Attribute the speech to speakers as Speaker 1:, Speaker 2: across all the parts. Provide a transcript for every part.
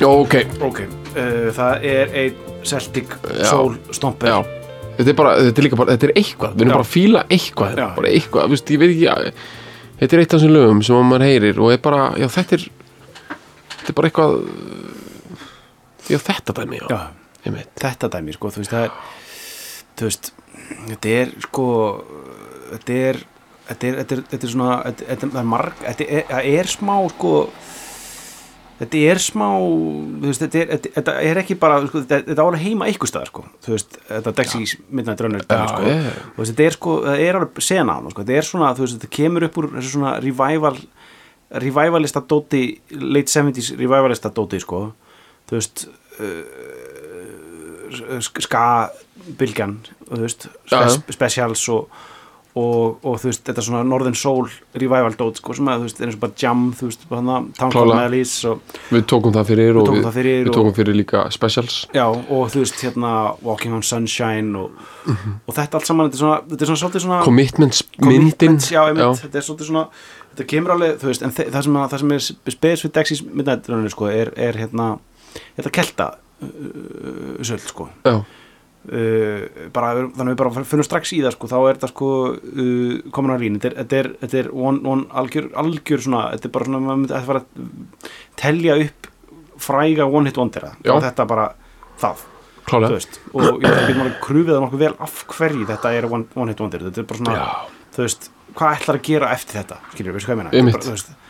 Speaker 1: Jó, ok.
Speaker 2: Ok, uh, það er einn Celtic Soul Stomper
Speaker 1: Já. Þetta er bara, þetta er líka bara, þetta er eitthvað. Við erum
Speaker 2: Já.
Speaker 1: bara að fíla eitthvað. hérna.
Speaker 2: Já.
Speaker 1: Bara eitthvað, þú veist, ég veit ekki að... Þetta er eitt af þessum lögum sem að maður heyrir og er bara, já, þetta er... Þetta er bara eitthvað... Já, þetta dæmi, já.
Speaker 2: Já,
Speaker 1: Ég veit.
Speaker 2: þetta dæmi sko, þú veist það er þú veist, þetta er sko þetta er þetta er, þetta er, þetta er svona þetta, þetta, það er marg, þetta er, það er smá sko þetta er smá þú veist, þetta, er, þetta, þetta er ekki bara sko, þetta, þetta álega heima einhver staðar sko þú veist, þetta Dexys Midnight Runner dæmi,
Speaker 1: Já,
Speaker 2: sko.
Speaker 1: já, já.
Speaker 2: þú veist, þetta er sko, það er alveg sena á hann sko, þetta er svona, þú veist, þetta kemur upp úr þessu svona revival revivalista dóti, late 70s revivalista dóti sko þú veist eh, ska-bylgjan þú veist,
Speaker 1: Já, já.
Speaker 2: spe specials og, og, og þú veist, þetta svona Northern Soul revival dót, sko, sem að þú veist, er eins og bara jam, þú veist, bara hann Town
Speaker 1: Klálega.
Speaker 2: Melis og,
Speaker 1: Við tókum það fyrir og
Speaker 2: tókum það fyrir
Speaker 1: við
Speaker 2: og-
Speaker 1: tókum fyrir líka specials.
Speaker 2: já, og þú veist, hérna Walking on Sunshine og,
Speaker 1: Mhm.
Speaker 2: og þetta allt saman, þetta er svona, þetta er svona svolítið svona
Speaker 1: Commitments, myndin.
Speaker 2: commitments, já, einmitt, þetta er svolítið svona þetta kemur alveg, þú veist, en þe- það sem, að, það sem er spes við Dexys Midnight Runner, sko, er, er hérna, þetta kelta uh, söl, sko
Speaker 1: já, já.
Speaker 2: uh, bara, þannig að við bara finnum strax í það sko, þá er þetta sko uh, komin að rín, þetta er, þetta er, þetta er one, one algjör, algjör svona, þetta er bara svona maður myndi að fara að telja upp fræga one hit wondera
Speaker 1: Já.
Speaker 2: og þetta bara það, þú
Speaker 1: klálega.
Speaker 2: veist og ég veit ekki maður krufið það nokkuð vel af hverju þetta er one, one hit wonder, þetta er bara svona
Speaker 1: Já.
Speaker 2: þú veist, hvað ætlar að gera eftir þetta skilur, veistu hvað ég meina
Speaker 1: Einmitt.
Speaker 2: Þetta er bara, þú veist, þetta er bara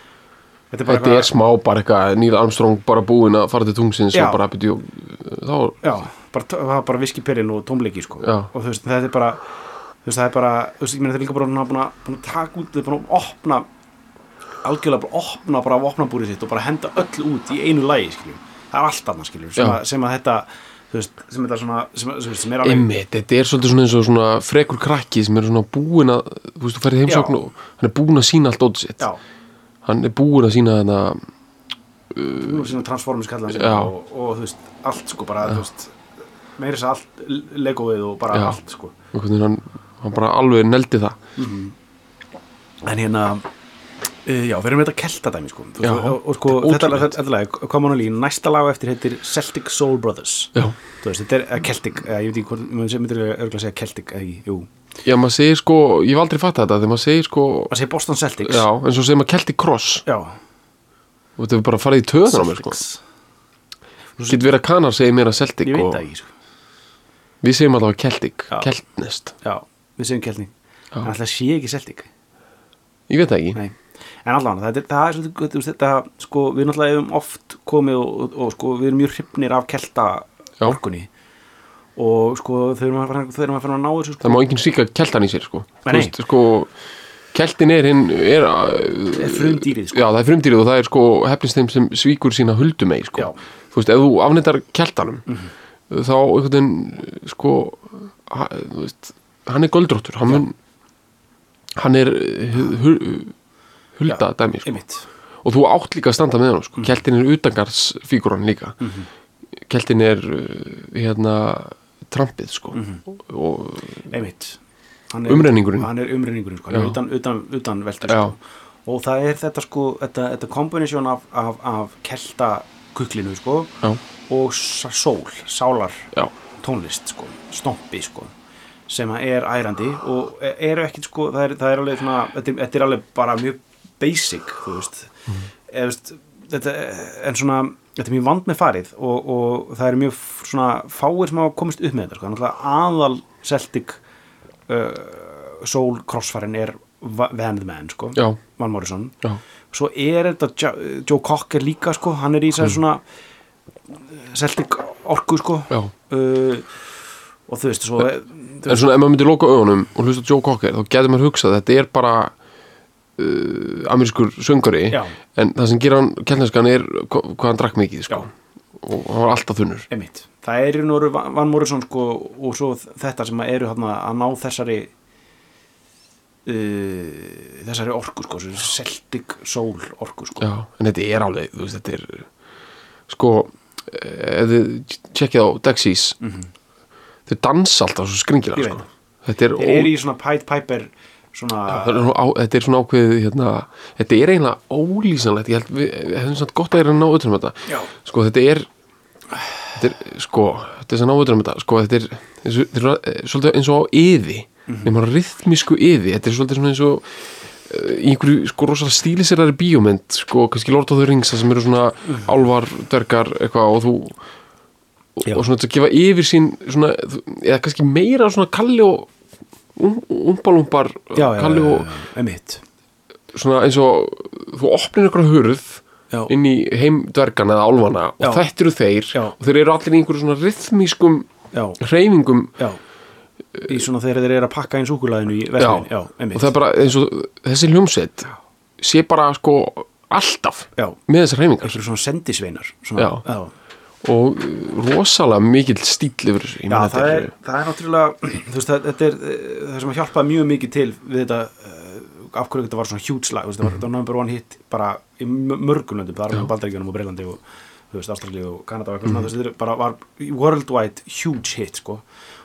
Speaker 1: Þetta er smá bara eitthvað Neil Armstrong bara búinn að fara til tungsins
Speaker 2: Já.
Speaker 1: og bara byrja þá,
Speaker 2: já, bara, það var bara viskipirinn og tómleiki sko.
Speaker 1: Já.
Speaker 2: og þú veist, þetta er bara þú veist, það er bara, þú veist, ég meina þetta er líka bara búin að, búin að taka út, þetta er búin að opna algjörlega bara opna bara vopnabúrið sitt og bara henda öll út í einu lagi, skiljum, það er allt annað, skiljum sem,
Speaker 1: Já.
Speaker 2: að- sem að þetta, þú veist, sem þetta svona, sem, sem, sem, sem er alveg
Speaker 1: einmitt, þetta er svolítið svona eins og svona frekur krakki sem er svona búinn að þú veist, þú ferði heimsókn
Speaker 2: Já.
Speaker 1: og hann er búinn að sína allt ótt sitt
Speaker 2: já,
Speaker 1: hann er búinn að sína þarna
Speaker 2: nú er svona transformers kallan
Speaker 1: Já.
Speaker 2: og, og þú veist, allt sko bara, þú veist meira þess að allt legoið og bara
Speaker 1: Já.
Speaker 2: allt sko
Speaker 1: einhvern veginn, hann, hann bara alveg neldi það
Speaker 2: en hérna uh, já, við erum með þetta keltadæmi sko. Þú
Speaker 1: Já,
Speaker 2: veist, og, og sko,
Speaker 1: þetta er
Speaker 2: þetta lag,
Speaker 1: ótrúlegt.
Speaker 2: þetta lag Common Only, næsta lag á eftir heitir Celtic Soul Brothers
Speaker 1: já,
Speaker 2: Þú veist, þetta er eh, Celtic, eh, ég veit ekki hvort maður myndir örgulega segja Celtic, eða ekki, jú
Speaker 1: já, maður segir sko ég hef aldrei fatt þetta, þegar maður segir sko
Speaker 2: maður segir Boston Celtics
Speaker 1: já, en svo segir maður kelti cross
Speaker 2: já.
Speaker 1: og þetta er bara farið í töðan á mér sko
Speaker 2: Celtics.
Speaker 1: getur verið að kanar segir mér að Celtic
Speaker 2: ég veit
Speaker 1: og
Speaker 2: það ekki, sko.
Speaker 1: við segjum allavega Celtic,
Speaker 2: Já.
Speaker 1: Keltnest
Speaker 2: já, við segjum Celtic en alltaf sé ekki Celtic
Speaker 1: ég veit það ekki,
Speaker 2: Nei. en allan, það er, það er svolítið gott, þú veist, þetta, sko, við náttúrulega hefum oft komið og, og, og sko, við erum mjög hrifnir af kelta
Speaker 1: Já.
Speaker 2: orkunni og sko, þau erum að fara þau erum að fara að ná þessu sko,
Speaker 1: það má enginn síka keltan í sér sko,
Speaker 2: Nei,
Speaker 1: Þú veist, sko keltin er hinn er, uh,
Speaker 2: er frumdýrið sko.
Speaker 1: já það er frumdýrið og það er sko hefnist þeim sem svíkur sína huldumei sko,
Speaker 2: Já. Mhm.
Speaker 1: þú veist, ef þú afnættar keltanum þá einhvern veginn sko ha, þú veist, hann er göldróttur hann, mun, hann er uh, hu- hu- hulda dæmi sko.
Speaker 2: einmitt,
Speaker 1: og þú átt líka að standa með hann
Speaker 2: Mhm.
Speaker 1: sko. keltin er utangarsfíguran líka keltin er uh, hérna trampið sko
Speaker 2: Mhm.
Speaker 1: og
Speaker 2: einmitt hann
Speaker 1: Umrenningurinn.
Speaker 2: hann er umrenningurinn sko,
Speaker 1: Já.
Speaker 2: hann er utan, utan, utan velta
Speaker 1: Já.
Speaker 2: sko. og það er þetta sko þetta, þetta kombinasjón af, af, af kelta kuklinu sko
Speaker 1: já,
Speaker 2: og s- sól, sálar
Speaker 1: já
Speaker 2: tónlist sko, stompi sko sem að er ærandi og e- eru ekkit sko, það er, það er alveg svona þetta er, þetta er alveg bara mjög basic þú veist, mm. veist þetta, en svona, þetta er mjög vand með farið og, og það eru mjög f- svona fáir sem hafa komist upp með þetta sko, náttúrulega aðal Celtic uh, soul crossfærin er Va- Van the Man sko,
Speaker 1: já,
Speaker 2: Van Morrison
Speaker 1: já,
Speaker 2: svo er þetta Jo- Joe Cocker líka sko, hann er í sér svona Celtic orku sko
Speaker 1: já
Speaker 2: uh, og þú veist svo þú
Speaker 1: en
Speaker 2: veist,
Speaker 1: svona ef maður myndi loka augunum og hlusta á Joe Cocker þá getur maður hugsað að þetta er bara uh, amerískur söngari
Speaker 2: já,
Speaker 1: en það sem gerir hann kjallneskan er hva- hvað hann drakk mikið
Speaker 2: já,
Speaker 1: sko. og hann var alltaf þunnur
Speaker 2: einmitt það er í Nóru Van Morrison sko og svo þetta sem eru hann að ná þessari uh, þessari orku sko þessari Celtic soul orku sko
Speaker 1: já, en þetta er alveg þú veist, þetta er sko eh, ef þið tjekkið á Dexys þeir dansa alltaf svo skringilega
Speaker 2: Mhm. Ég veit
Speaker 1: sko. þetta er,
Speaker 2: þeir eru í svona Pied Piper svona
Speaker 1: Það er nú á, þetta er svona ákveðið hérna, þetta er eiginlega ólýsanlegt ég held við við hefðum svona gott að er að ná utanum þetta
Speaker 2: Já.
Speaker 1: sko þetta er þetta er sko þetta er svona ná utanum þetta sko þetta er eins og- þetta er svona, eh, svolítið eins og á yði
Speaker 2: Mhm.
Speaker 1: nema rithmísku yði þetta er svolítið svona eins og eh, í einhverju sko rosalega stílisirari bíómynd sko kannski Lord of the Rings þar sem eru svona
Speaker 2: Mhm.
Speaker 1: álvar, dvergar eitthvað og þú og,
Speaker 3: Já.
Speaker 1: og svona þetta gefa yfir sín svona, þú- eða kannski meira svona kalli og umbalumbar
Speaker 2: já, já,
Speaker 1: kalli og
Speaker 2: já, einmitt
Speaker 1: svona eins og þú opnir einhverja hurð
Speaker 2: já,
Speaker 1: inn í heimdvergan eða álfana og
Speaker 2: Já.
Speaker 1: þetta eru þeir
Speaker 2: Já.
Speaker 1: og þeir eru allir í einhverju svona rithmískum
Speaker 2: já,
Speaker 1: hreyfingum
Speaker 2: já í svona þegar þeir eru að pakka einn súkulæðinu í verðin já,
Speaker 1: og
Speaker 2: einmitt
Speaker 1: það er bara eins og þessi hljómsveit sé bara sko alltaf
Speaker 2: já,
Speaker 1: með þessar hreyfingar
Speaker 2: einhverjum svona sendisveinar svona,
Speaker 1: Já.
Speaker 2: já.
Speaker 1: og rosalega mikill stíl yfir þessu Ég
Speaker 2: Já,
Speaker 1: meina,
Speaker 2: það
Speaker 1: þetta
Speaker 2: er, það er náttúrulega þú veist, það, þetta er eh, það sem að hjálpa mjög mikið til við þetta uh, af hverju þetta var svona huge lag þú veist, það var, þetta var number one hit bara í mö- mörgum löndum, það er með Bandaríkjunum og Breilandi og þú veist, Ástralíu og Kanada og eitthvað svona, þú veist, þetta er bara var worldwide huge hit sko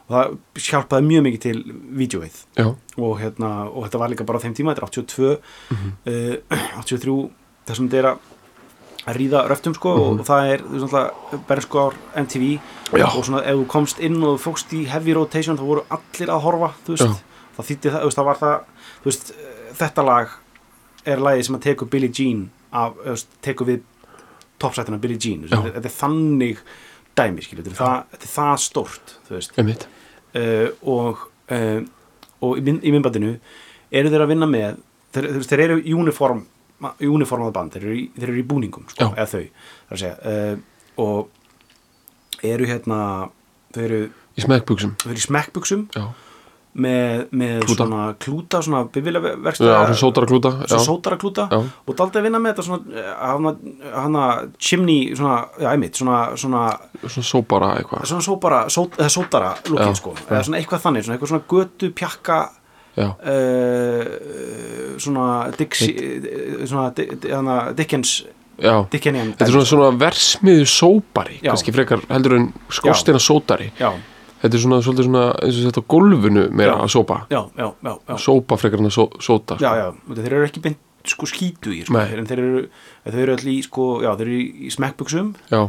Speaker 2: og það hjálpaði mjög mikið til vídjóið
Speaker 1: já,
Speaker 2: og, hérna, og þetta var líka bara á þeim tíma þetta er 82
Speaker 1: Mhm.
Speaker 2: eh, 83 þessum þetta er að að ríða röftum sko og það er þú veist náttúrulega bernskuár MTV
Speaker 1: Mhm. Já.
Speaker 2: og svona ef þú komst inn og þú fókst í heavy rotation þá voru allir að horfa þú veist,
Speaker 1: Já.
Speaker 2: það þýtti það, þú veist, það var það þú veist, eh, þetta lag er lagið sem að tekur Billie Jean af, þú veist, tekur við toppsættina Billie Jean, þú
Speaker 1: Já.
Speaker 2: veist, þetta er- þetta er þannig dæmi, skilur, þetta er það, þetta er það stórt, þú veist
Speaker 1: einmitt
Speaker 2: uh, og, uh, og í, mynd, í myndbandinu eru þeir að vinna með þeir, þeir, þeir eru uniform, uniformað band þeir eru í, þeir eru í búningum sko,
Speaker 1: Já.
Speaker 2: eða þau, þar að segja uh, og eru hérna þau eru,
Speaker 1: í smekkbuksum
Speaker 2: þau eru í smekkbuksum
Speaker 1: já,
Speaker 2: með, með
Speaker 1: Klúta.
Speaker 2: svona klúta svona
Speaker 1: já,
Speaker 2: bifilaverkstæða
Speaker 1: svona sótara klúta já,
Speaker 2: svo sótara klúta
Speaker 1: Já.
Speaker 2: og daldi að vinna með þetta svona eh, hana, hana chimney svona, já, einmitt, svona, svona
Speaker 1: svona sópara eitthvað
Speaker 2: svona sópara, sót, eða sótara lukkin
Speaker 1: Já,
Speaker 2: sko,
Speaker 1: já.
Speaker 2: eða svona eitthvað þannig svona eitthvað svona götu pjakka
Speaker 1: já,
Speaker 2: uh, svona Dixi, eh, svona Di- Di- hana, Dickens
Speaker 1: já
Speaker 2: Dickenian
Speaker 1: Þetta er svona, svona versmiðu sópari,
Speaker 2: Já.
Speaker 1: kannski frekar heldur en skorsteina sótari.
Speaker 2: já,
Speaker 1: Þetta er svona, svolítið svona, eins og þetta á gólfinu meira
Speaker 2: Já.
Speaker 1: að sópa.
Speaker 2: já, já, já, já,
Speaker 1: Sópa frekar en að só, sóta. sko.
Speaker 2: já, já. Og þeir eru ekki beint sko skítu í sko.
Speaker 1: Nei.
Speaker 2: en þeir eru, þeir eru allir í sko já, þeir eru í- í smekkbuksum
Speaker 1: já.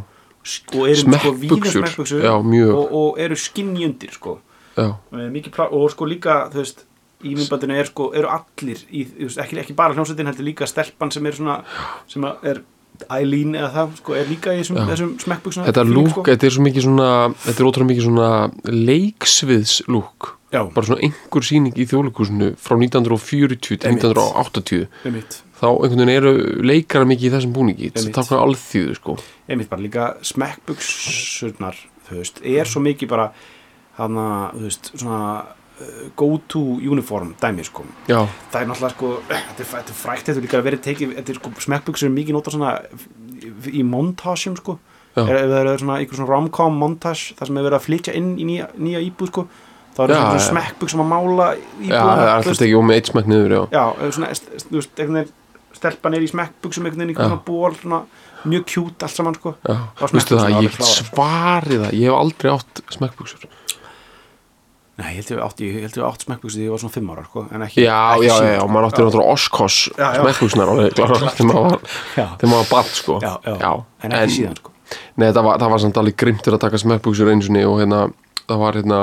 Speaker 2: og eru með sko víða
Speaker 1: Smekkbuxur.
Speaker 2: smekkbuksum
Speaker 1: Já, mjög.
Speaker 2: og, og eru skinnjundir sko
Speaker 1: Já,
Speaker 2: Eh, mikið plá og sko líka þú veist í myndbandinu er sko, eru allir í, þú veist, ekki, ekki bara hljómsveitin, heldur líka stelpan sem er svona, sem að er Eileen eða það, sko, er líka í þessum,
Speaker 1: Já.
Speaker 2: þessum sko. smekkbuksuna
Speaker 1: Þetta lúk, þetta er svo mikið svona, þetta er ótrúlega mikið svona leiksviðs lúk.
Speaker 2: Já,
Speaker 1: Bara svona einhver sýning í þjóðleikusinu frá 1940 til
Speaker 2: Einmitt.
Speaker 1: 1980.
Speaker 2: einmitt
Speaker 1: Þá einhvern veginn eru leikara mikið í þessum búningi. Þetta
Speaker 2: Einmitt.
Speaker 1: takk að alþýðu, sko.
Speaker 2: einmitt bara líka smekkbuksurnar þú veist, er svo mikið bara hana, þú veist, svona eh, go to uniform dæmi sko.
Speaker 1: Já,
Speaker 2: það er náttúrulega sko, þetta er, þetta er frækt þetta er líka að vera tekið, þetta er sko smekkbuksur er mikið nota svona í- í montasjum sko,
Speaker 1: Já.
Speaker 2: er, ef það eru svona einhver svona rom-com montas, það sem er verið að flytja inn í nýja, nýja íbúð sko þá eru
Speaker 1: Já,
Speaker 2: svona
Speaker 1: já.
Speaker 2: smekkbuk sem að mála
Speaker 1: já, það er alltaf tekið um með eitt smekk niður, já.
Speaker 2: já, svona, st- st- þú veist, einhvern veginn stelpan er í smekkbuksum einhvern veginn í
Speaker 1: Já.
Speaker 2: svona ból, svona mjög kjút allt saman sko,
Speaker 1: Já,
Speaker 2: var
Speaker 1: veistu
Speaker 2: smekkbuxurnar
Speaker 1: það,
Speaker 2: alveg
Speaker 1: ég get
Speaker 2: klárar.
Speaker 1: svarið það, ég hef aldrei átt smekkbuksur.
Speaker 2: Nei, ég held ég átt, ég held ég átt smekkbuksu því ég var svona fimm ára, sko, en ekki
Speaker 1: Já,
Speaker 2: ekki
Speaker 1: já, já,
Speaker 2: sjö.
Speaker 1: já, maður átti náttúrulega Oskos
Speaker 2: Já, já.
Speaker 1: smekkbuksnar alveg, klára, þegar maður var, þegar maður var barn, sko.
Speaker 2: Já, já, en ekki síðan, sko
Speaker 1: Nei, það var, það var samt alveg grimtur að taka smekkbuksur einu sinni og hérna, það var hérna,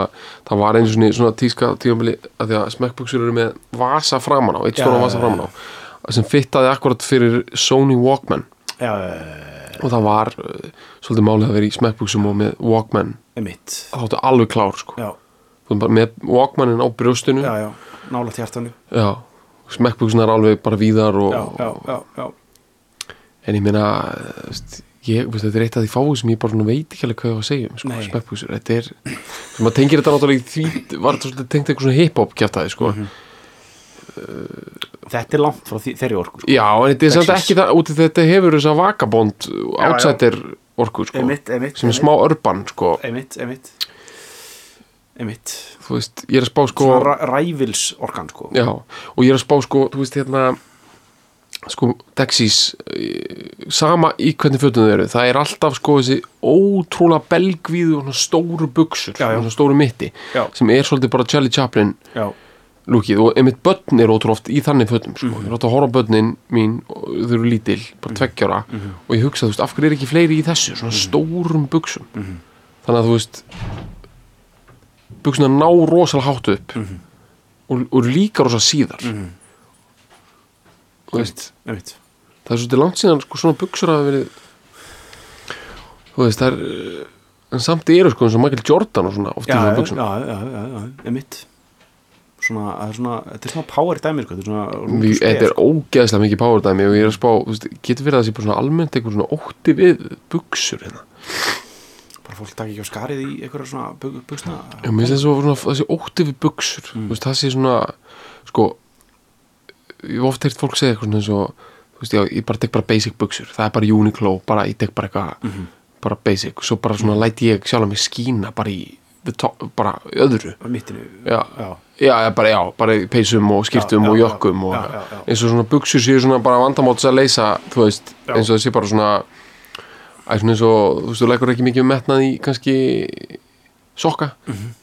Speaker 1: það var einu sinni svona tíska tíumili að því að smekkbuksur eru með vasa framan á, eitt
Speaker 2: Já,
Speaker 1: stóra
Speaker 2: já,
Speaker 1: vasa
Speaker 2: já,
Speaker 1: framan á, sem fittaði akkurat fyrir Sony Walkman
Speaker 2: Já, eh,
Speaker 1: og það var uh, svolítið málið að vera í smekkbuksum og með Walkman,
Speaker 2: einmitt
Speaker 1: það þáttu alveg klár, sko.
Speaker 2: Já,
Speaker 1: Þú ert bara með Walkmanin á brjóstinu,
Speaker 2: já, já, nála tjartanu
Speaker 1: já, smekkbuksunar alveg bara víðar og,
Speaker 2: já, já, já, já.
Speaker 1: en ég meina þú veist, ég, veist, þetta er eitt af því fáið sem ég bara svona veit ekki alveg hvað ég á að segja um, sko,
Speaker 2: Nei.
Speaker 1: smekkbuksur, þetta er sem maður tengir þetta náttúrulega í því var þetta svolítið tengt eitthvað svona hip-hop kjátaði sko.
Speaker 2: Mhm. Þetta er langt frá því, þeirri orku sko.
Speaker 1: já, en þetta er samt
Speaker 2: Nexus.
Speaker 1: ekki það út í þetta hefur þessa vagabond
Speaker 2: já.
Speaker 1: outsider orku sko,
Speaker 2: Einmitt, einmitt,
Speaker 1: sem er
Speaker 2: einmitt.
Speaker 1: smá urban sko.
Speaker 2: Einmitt, einmitt Einmitt
Speaker 1: þú veist, ég er að spá sko
Speaker 2: Svona ræ- Rævils orkan sko
Speaker 1: Já, og ég er að spá sko, þú veist hérna sko, Dexys eh, sama í hvernig fötum þau eru það er alltaf sko þessi ótrúlega belgvíðu og svona stóru buksur
Speaker 2: Já, já.
Speaker 1: svona stóru mitti
Speaker 2: Já.
Speaker 1: sem er svolítið bara Charlie Chaplin
Speaker 2: Já,
Speaker 1: lúkið og einmitt börn eru ótrúlega oft í þannig fötum sko.
Speaker 2: Mhm.
Speaker 1: ég er átt að horfa á börnin mín og þau eru lítil, bara tveggjára
Speaker 2: Mhm.
Speaker 1: og ég hugsa, þú veist, af hverju er ekki fleiri í þessu svona stórum buksum
Speaker 2: Mhm.
Speaker 1: þannig að þú veist buksuna ná rosalega hátt upp
Speaker 2: Mhm.
Speaker 1: og, og eru líka rosalega síðar þú veist
Speaker 2: einmitt
Speaker 1: það er svolítið langt síðan sko, svona buksur hafa verið þú veist, það er eh, en samt eru sko eins og Michael Jordan og svona oft í
Speaker 2: Já,
Speaker 1: svona
Speaker 2: já,
Speaker 1: buksum
Speaker 2: já, já, já, já, einmitt Svona, það er svona, þetta er svona power dæmi sko, Þetta er svona
Speaker 1: Við, þetta er ógeðslega mikið powerdæmi og ég er að spá, þú veist, getur verið að það sé bara svona almennt einhver svona ótti við buksur hérna.
Speaker 2: sko. Bara fólk takk ekki á skarið í einhverja svona bug- buxna
Speaker 1: Ég minnst þess að svona, það sé ótti við buksur, þú veist, það sé svona, sko, ég hef oft heyrt fólk segja eitthvað svona eins og, þú veist, já, ég bara tek bara basic buksur, það er bara Uniqlo, bara ég tek bara eitthvað, bara basic, svo bara svona læt ég sjálf að mig skína bara í, the top, bara í öðru.
Speaker 2: Á mittinu
Speaker 1: Já.
Speaker 2: já,
Speaker 1: Já, já, bara, já, bara í peysum og skiptum
Speaker 2: Já, já,
Speaker 1: og
Speaker 2: já.
Speaker 1: jökkum og
Speaker 2: Já, já, já.
Speaker 1: eins og svona buksur séu svona bara vandamáts að leysa, þú veist,
Speaker 2: Já.
Speaker 1: eins og það sé bara svona æ, svona eins og, þú veist, þú lækur ekki mikið um metnað í kannski sokka mm -hmm.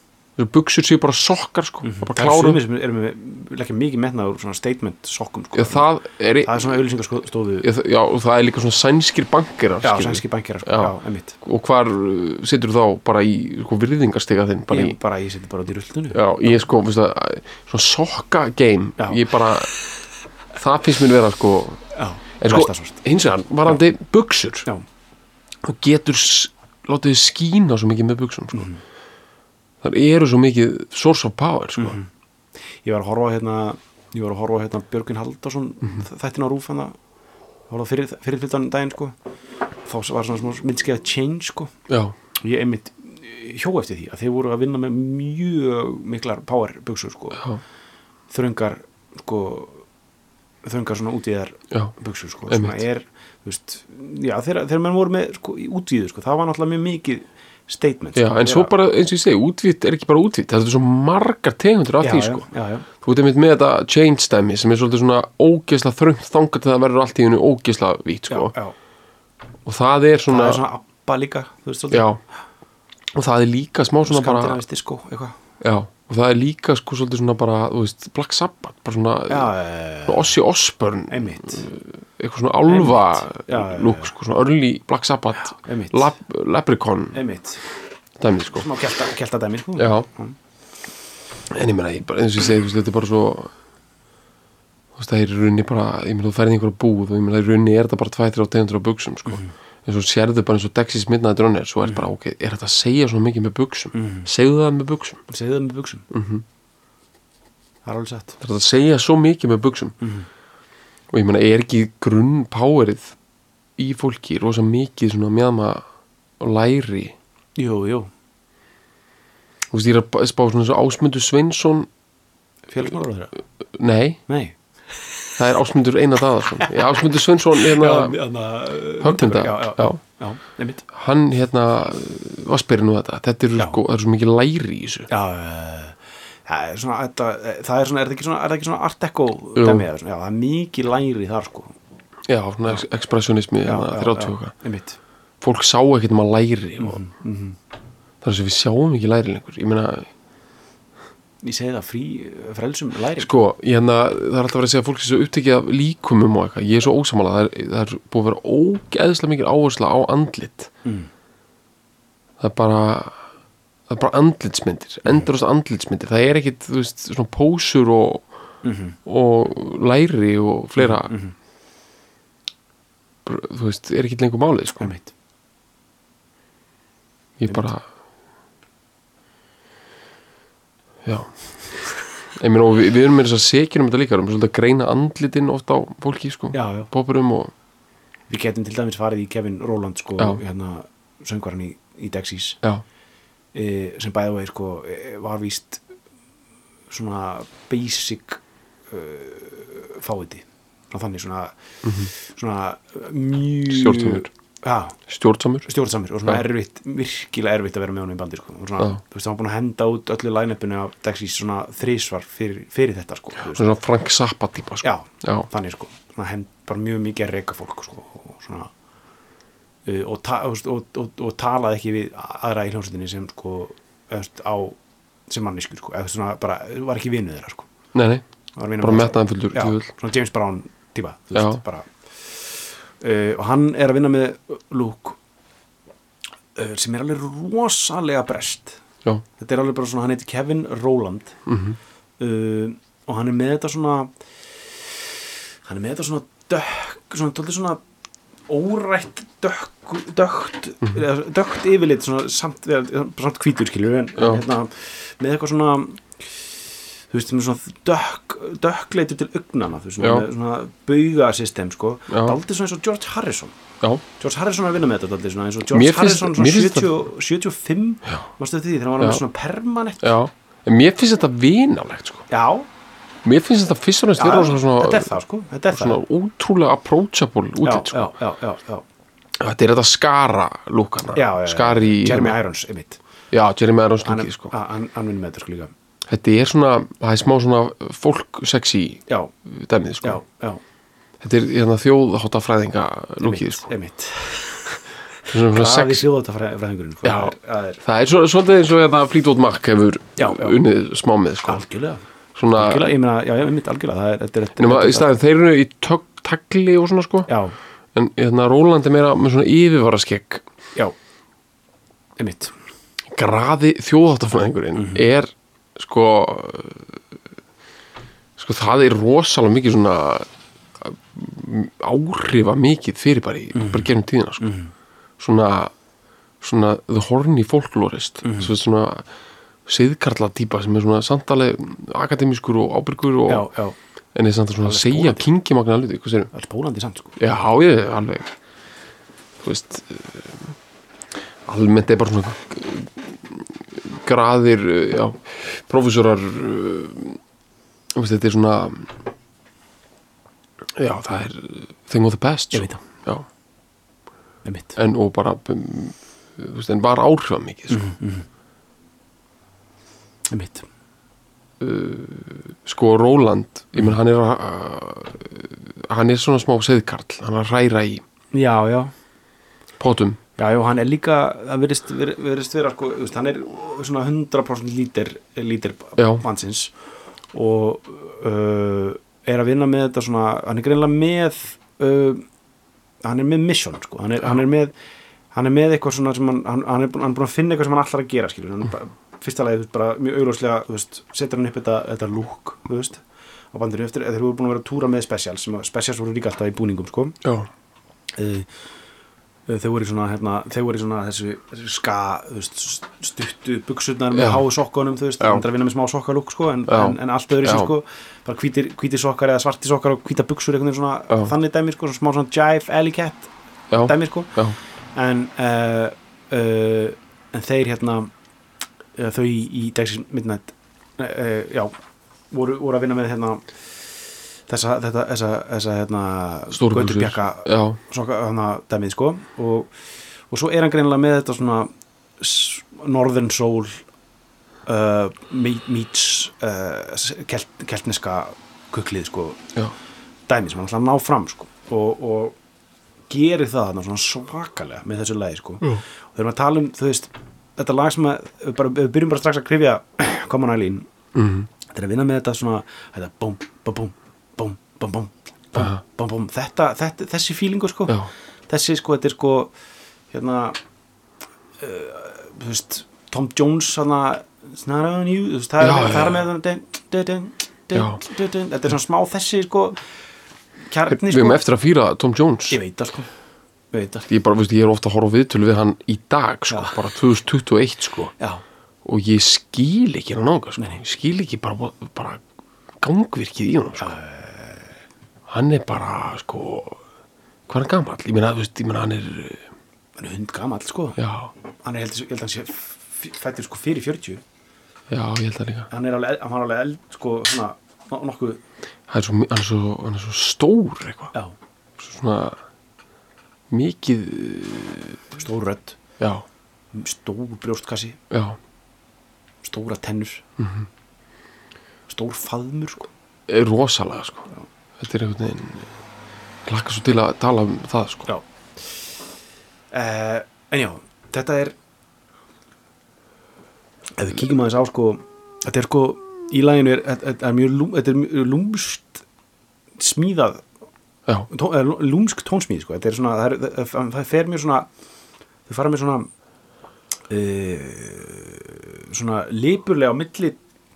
Speaker 1: buksur séu bara sokkar, sko mm bara
Speaker 2: Mhm. Það er
Speaker 1: klárum
Speaker 2: sumir sem erum við leggja mikið metnaður svona statement sokkum sko.
Speaker 1: já, það er,
Speaker 2: það er svona auðlýsingastóðu
Speaker 1: já, það- já, og það er líka svona sænskir bankirar,
Speaker 2: Já,
Speaker 1: skilur.
Speaker 2: sænski bankir sko.
Speaker 1: Já.
Speaker 2: Já, einmitt
Speaker 1: og hvar uh, situr þá bara í sko, virðingarstiga þinn, bara í
Speaker 2: Ég bara, ég seti bara út í rulltunni
Speaker 1: Já, ég sko, veist það, svona sokka game,
Speaker 2: Já.
Speaker 1: ég bara það finnst mér vera sko
Speaker 2: Já,
Speaker 1: en sko,
Speaker 2: versta svart.
Speaker 1: hins vegar, varandi buksur
Speaker 2: Já,
Speaker 1: þú getur s- látið þið skína svo mikið með buksum
Speaker 2: Mhm.
Speaker 1: sko. þar eru svo mikið source of power sko.
Speaker 2: Mhm. ég var að horfa á hérna ég var að horfa á hérna Björgvin Haldarsson
Speaker 1: Mhm.
Speaker 2: þættin á rúf hann að horfa á fyrir, fyrir fylgdan daginn sko þá var svona smá myndskeið change sko
Speaker 1: já,
Speaker 2: og ég einmitt eh, hjó eftir því að þeir voru að vinna með mjög miklar power buksur sko
Speaker 1: Já.
Speaker 2: þröngar sko þröngar svona útíðar
Speaker 1: já,
Speaker 2: buksur sko
Speaker 1: Einmitt.
Speaker 2: svona er, þú veist, já þegar, þegar menn voru með sko í útíðu sko, það var náttúrulega mjög mikið statement
Speaker 1: já
Speaker 2: sko,
Speaker 1: en svo
Speaker 2: þegar-
Speaker 1: bara, eins og ég segi, útvitt er ekki bara útvitt það er svo margar tegundur af
Speaker 2: já,
Speaker 1: því
Speaker 2: já,
Speaker 1: sko.
Speaker 2: já, já,
Speaker 1: þú veit einmitt með þetta change stæmi sem er svolítið svona ógeðsla þröngt þangar til það verður allt í hennu ógeðsla vít
Speaker 2: já,
Speaker 1: sko.
Speaker 2: já.
Speaker 1: og það er svona,
Speaker 2: það er svona abba líka þú veist svolítið
Speaker 1: já og það er líka smá svona bara
Speaker 2: skandinavisti sko eitthvað
Speaker 1: Já, og það er líka sko svolítið svona bara, þú veist, Black Sabbath, bara svona,
Speaker 2: já,
Speaker 1: svona Ossi Osborn,
Speaker 2: einmitt
Speaker 1: eitthvað svona álfa
Speaker 2: Einmitt. Já, já,
Speaker 1: lúk, sko, svona early Black Sabbath,
Speaker 2: einmitt.
Speaker 1: lab, Leprechaun,
Speaker 2: einmitt
Speaker 1: dæmið, sko.
Speaker 2: smá kelta, kelta dæmi sko
Speaker 1: Já, en ég meina, ég bara, eins og ég segi, þú veist, þetta er bara svo, þú veist, það er í rauninni bara, ég meina, þú ferði einhverja búð og ég meina, í rauninni er þetta bara 2-3 tegundur á buksum, sko.
Speaker 2: Mhm.
Speaker 1: En svo sérðu bara eins og Dexys Midnight Runner, svo er bara, ok, er þetta að segja svona mikið með buksum?
Speaker 2: Mhm.
Speaker 1: Segðu það með buksum?
Speaker 2: segðu það með buksum -hmm.
Speaker 1: Mhm.
Speaker 2: það er alveg satt
Speaker 1: það er hægt að segja svo mikið með buksum
Speaker 2: Mhm.
Speaker 1: og ég meina er ekki grunn powerið í fólki rosa mikið svona meðma og læri
Speaker 2: jú, jú
Speaker 1: þú veist ég er að ba- spá svona eins og Ásmundur Sveinsson
Speaker 2: félagsmálar á þeirra
Speaker 1: nei,
Speaker 2: nei
Speaker 1: það er Ásmundur Einar Daðarsson Já, Ásmundur Sveinsson hérna, höggmynda
Speaker 2: uh, já, já, já.
Speaker 1: Já,
Speaker 2: já einmitt
Speaker 1: hann hérna var spyrir nú þetta þetta eru
Speaker 2: Já.
Speaker 1: sko, það er svo mikið læri í þessu
Speaker 2: já eh, það er svona þetta, eh, það er svona er það ekki svona, er það ekki svona art deco
Speaker 1: Jú.
Speaker 2: dæmi eða svona já það er mikið læri þar sko
Speaker 1: já, svona ex- expressionismi hérna, 30 og
Speaker 2: já, Mhm,
Speaker 1: eitthvað
Speaker 2: einmitt
Speaker 1: fólk sá ekkert um að læri og það er svo við sjáum ekki læri lengur ég meina,
Speaker 2: ég segi það frí eh, frelsum læri
Speaker 1: Sko, ég hérna, það er alltaf verið að segja að fólk sé svo upptekið af líkumum og eitthvað, ég er svo ósamála það er, það er búið að vera ógeðslega mikil áhersla á andlit
Speaker 2: Mm.
Speaker 1: það er bara það er bara andlitsmyndir,
Speaker 2: Mm.
Speaker 1: endurast andlitsmyndir það er ekkit, þú veist, svona pósur og,
Speaker 2: Mhm.
Speaker 1: og læri og fleira Br- þú veist, er ekkit lengur málið, sko
Speaker 2: einmitt
Speaker 1: ég bara já Ég meina, og við, við erum með þess að sekjur um þetta líka, við erum svolítið að greina andlitin ofta á fólki, sko,
Speaker 2: já, já.
Speaker 1: poppurum og
Speaker 2: Við getum til dæmis farið í Kevin Roland sko,
Speaker 1: Já.
Speaker 2: hérna, söngvaran í, í Dexys
Speaker 1: já,
Speaker 2: e, sem bæði vegi sko, eh, var víst svona basic uh, fáiði svona þannig svona, svona mjög
Speaker 1: Mhm. Stjórnsamur.
Speaker 2: já,
Speaker 1: stjórnsamur
Speaker 2: stjórnsamur og svona
Speaker 1: Já.
Speaker 2: erfitt, virkilega erfitt að vera með honum í bandi sko. og svona,
Speaker 1: Já.
Speaker 2: þú veist, hann var búin að henda út öllu line-upinu af Dexys svona þrísvar fyrir, fyrir þetta sko, þú veist.
Speaker 1: svona Frank Zappa típa, sko
Speaker 2: já,
Speaker 1: já,
Speaker 2: þannig sko svona, hend, bara mjög mikið að reyka fólk sko, og svona uh, og, ta, og, og, og, og talaði ekki við aðra í hljómsveitinni sem sko eftir, á, sem manniskur sko eftir, svona, bara, var ekki vinuð þeirra sko
Speaker 1: nei, nei,
Speaker 2: Var vinur
Speaker 1: Bara
Speaker 2: manns-
Speaker 1: metnaðarfullur
Speaker 2: já,
Speaker 1: djöfull.
Speaker 2: svona James Brown típa þú
Speaker 1: Já.
Speaker 2: veist, bara uh, og hann er að vinna með Luke uh, sem er alveg rosalega brest
Speaker 1: já, Mhm.
Speaker 2: þetta er alveg bara svona, hann heitir Kevin Rowland uh, og hann er með þetta svona hann er með þetta svona dökk svona, tóldið svona órætt dökk, dökkt
Speaker 1: Mhm.
Speaker 2: eða dökkt yfirlit svona samt, eða, samt hvítur skilur en,
Speaker 1: Já.
Speaker 2: en hérna, með eitthvað svona þú veist, með svona dökk dökkleitur til augnana, þú veist, svona,
Speaker 1: Já.
Speaker 2: með svona baugasystem, sko,
Speaker 1: Já.
Speaker 2: daldið svona eins og George Harrison
Speaker 1: já,
Speaker 2: George Harrison var að vinna með þetta daldið, svona, eins og George
Speaker 1: Mér finnst-
Speaker 2: Harrison svona
Speaker 1: mér finnst
Speaker 2: 70, 75 varstu þetta því þegar hann var
Speaker 1: Já.
Speaker 2: með svona permanent
Speaker 1: já en mér finnst þetta vinalegt, sko
Speaker 2: já,
Speaker 1: mér finnst þetta fyrst og næst vera svona,
Speaker 2: þetta
Speaker 1: svona,
Speaker 2: er það sko þetta er
Speaker 1: svona
Speaker 2: það
Speaker 1: útrúlega approachable út
Speaker 2: já,
Speaker 1: eitt, sko.
Speaker 2: já, já, já, já,
Speaker 1: þetta er þetta skara lúkana,
Speaker 2: já, já, já.
Speaker 1: skari
Speaker 2: Jeremy Irons, einmitt
Speaker 1: já, Jeremy Irons
Speaker 2: hann,
Speaker 1: lúki, sko
Speaker 2: a- hann, hann vinnur með þetta sko líka
Speaker 1: þetta er svona, það er smá svona fólk sexy
Speaker 2: já,
Speaker 1: dæmið,
Speaker 2: já,
Speaker 1: sko
Speaker 2: já,
Speaker 1: þetta er hérna, þjóðháttafræðinga lúkið, sko
Speaker 2: einmitt
Speaker 1: Svona- svona
Speaker 2: það
Speaker 1: sex-
Speaker 2: er sjóða þetta fræðingurinn sko.
Speaker 1: Já.
Speaker 2: það er- það er
Speaker 1: Það er svo, svolítið eins og hérna Fleetwood Mac hefur
Speaker 2: Já, já.
Speaker 1: unnið smá með sko.
Speaker 2: algjörlega
Speaker 1: Svona,
Speaker 2: algjörlega, ég meina, já, já, einmitt algjörlega það er, þetta er, þetta er,
Speaker 1: nema í
Speaker 2: þetta er
Speaker 1: staðin þeir eru í tög, tagli og svona sko
Speaker 2: já,
Speaker 1: en hérna Róland er meira með svona yfirvaraskegg
Speaker 2: já, einmitt
Speaker 1: graði þjóðháttafræðingurinn
Speaker 2: mhm.
Speaker 1: er sko sko það er rosalega mikið svona áhrifa mikið fyrirbæri
Speaker 2: Mhm.
Speaker 1: bara gerum tíðina sko svona, svona the horny folklorist
Speaker 2: Mhm.
Speaker 1: mm -hmm. svona siðkarla típa sem er svona samtalið akademískur og ábyrgur og
Speaker 2: já, já,
Speaker 1: en er samt að svona
Speaker 2: Alveg
Speaker 1: segja
Speaker 2: spólandi.
Speaker 1: kingimagna hluti, hvað sérum?
Speaker 2: það er spólandi samt sko
Speaker 1: Já, ég alveg þú veist um, almennt er bara svona g- graðir uh, já, prófessorar uh, þú veist, þetta er svona já, það er thing of the past
Speaker 2: Ég
Speaker 1: sko.
Speaker 2: veit það.
Speaker 1: Já,
Speaker 2: einmitt,
Speaker 1: en og bara um, þú veist, en var áhrifa mikið sko.
Speaker 2: Mhm. einmitt
Speaker 1: sko, Róland,
Speaker 2: Mhm.
Speaker 1: ég menn hann er uh, hann er svona smá seðkarl hann er að hræra í
Speaker 2: já, já,
Speaker 1: pótum
Speaker 2: Já, já, hann er líka, það verðist, verðist vera sko, þú veist, hann er svona 100% lítir, lítir
Speaker 1: Já.
Speaker 2: mannsins og uh, er að vinna með þetta svona, hann er greinlega með uh, hann er með mission sko, hann er, hann er með hann er með eitthvað svona sem hann, hann, hann er búin hann er búinn að finna eitthvað sem hann allar að gera skilur, hann er bara, fyrsta lagi, þú veist, bara mjög augljóslega þú veist, setur hann upp þetta, þetta lúk þú veist, á bandinu eftir, þeir eru búin að vera að túra með specials, sem að specials voru líka alltaf í búningum sko,
Speaker 1: já,
Speaker 2: Eh, eh, þau voru í svona, hérna, þau voru í svona þessu, þessu ska þú veist, stuttu buksurnar með
Speaker 1: Já.
Speaker 2: háu sokkunum þú veist,
Speaker 1: Já.
Speaker 2: það er að vinna með smá sokkalúk sko, en,
Speaker 1: Já.
Speaker 2: en, en allt öðru
Speaker 1: Já.
Speaker 2: sem sko bara hvítir, hvítir sokkar eða svartir sokkar og hvítar buksur einhvern veginn svona
Speaker 1: Já.
Speaker 2: þannig dæmi sko, svona smá svona jive alley cat
Speaker 1: já,
Speaker 2: dæmi sko
Speaker 1: já,
Speaker 2: en, uh, uh, en þeir hérna uh, þau í, í Dexys Midnight uh, uh, já, voru, voru að vinna með hérna þessa, þetta, þessa, þessa hérna,
Speaker 1: Stóru buxur.
Speaker 2: Gauturbjakka
Speaker 1: já.
Speaker 2: svona hana dæmið sko og, og svo er hann greinilega með þetta svona s- Northern Soul uh, me- meets uh, s- kelt, keltneska kuklið sko
Speaker 1: Já,
Speaker 2: dæmi sem hann ætla að ná fram sko og, og gerir það þarna svona svakalega með þessu lagi sko
Speaker 1: Já.
Speaker 2: og þegar maður tala um þú veist þetta lag sem að við, bara, við byrjum bara strax að krifja Common Eileen
Speaker 1: Mhm.
Speaker 2: þetta er að vinna með þetta svona þetta bum, bum, bum, bum, bum, bum, bum,
Speaker 1: Aha.
Speaker 2: bum, bum þetta, þetta, þessi fílingur sko
Speaker 1: Já.
Speaker 2: þessi sko, þetta er sko hérna uh, þú veist, Tom Jones hana, it's not on you þú veist, það
Speaker 1: Já,
Speaker 2: er, það
Speaker 1: já.
Speaker 2: er með þarna, dun, dun, dun,
Speaker 1: Já.
Speaker 2: dun, dun, dun. þetta er svona smá þessi sko kjarni
Speaker 1: við
Speaker 2: sko
Speaker 1: erum eftir að fýra Tom Jones
Speaker 2: ég veit það sko ég veit það
Speaker 1: Ég, bara, veist, ég er ofta að horfa á viðtölu við hann í dag sko,
Speaker 2: Já.
Speaker 1: bara 2021 sko.
Speaker 2: já,
Speaker 1: og ég skil ekki hann ánga sko.
Speaker 2: Nei, nei.
Speaker 1: ég skil ekki bara, bara gangvirkið í honum sko. hann er bara sko, hvað er hann gamall ég meina, þú veist, ég meina hann er uh,
Speaker 2: hann er hund gamall sko
Speaker 1: já,
Speaker 2: hann er heldur, ég held að hann sé f- fæddur sko fyrir 40
Speaker 1: já, ég held það líka
Speaker 2: hann er alveg, hann var alveg eld sko svona no- nokkuð
Speaker 1: hann er svo, mi- hann er svo, hann er svo stór eitthvað,
Speaker 2: já,
Speaker 1: svo svona mikið, uh,
Speaker 2: stór rödd
Speaker 1: já,
Speaker 2: stór brjóstkassi,
Speaker 1: já
Speaker 2: stóra tennur stór faðmur sko
Speaker 1: er rosalega sko þetta er einhvern veginn ég lakka svo til að tala um það sko
Speaker 2: já Eh, en já, þetta er ef við kíkjum aðeins á sko þetta er sko, í laginu er, þetta þetta er mjög, lúm, þetta er mjög lúmst smíðað
Speaker 1: já,
Speaker 2: tó, eða lú- lúmsk tónsmíð sko. þetta er svona, það, er, það- það fer mér svona þau fara mér svona uh, svona lipurlega á milli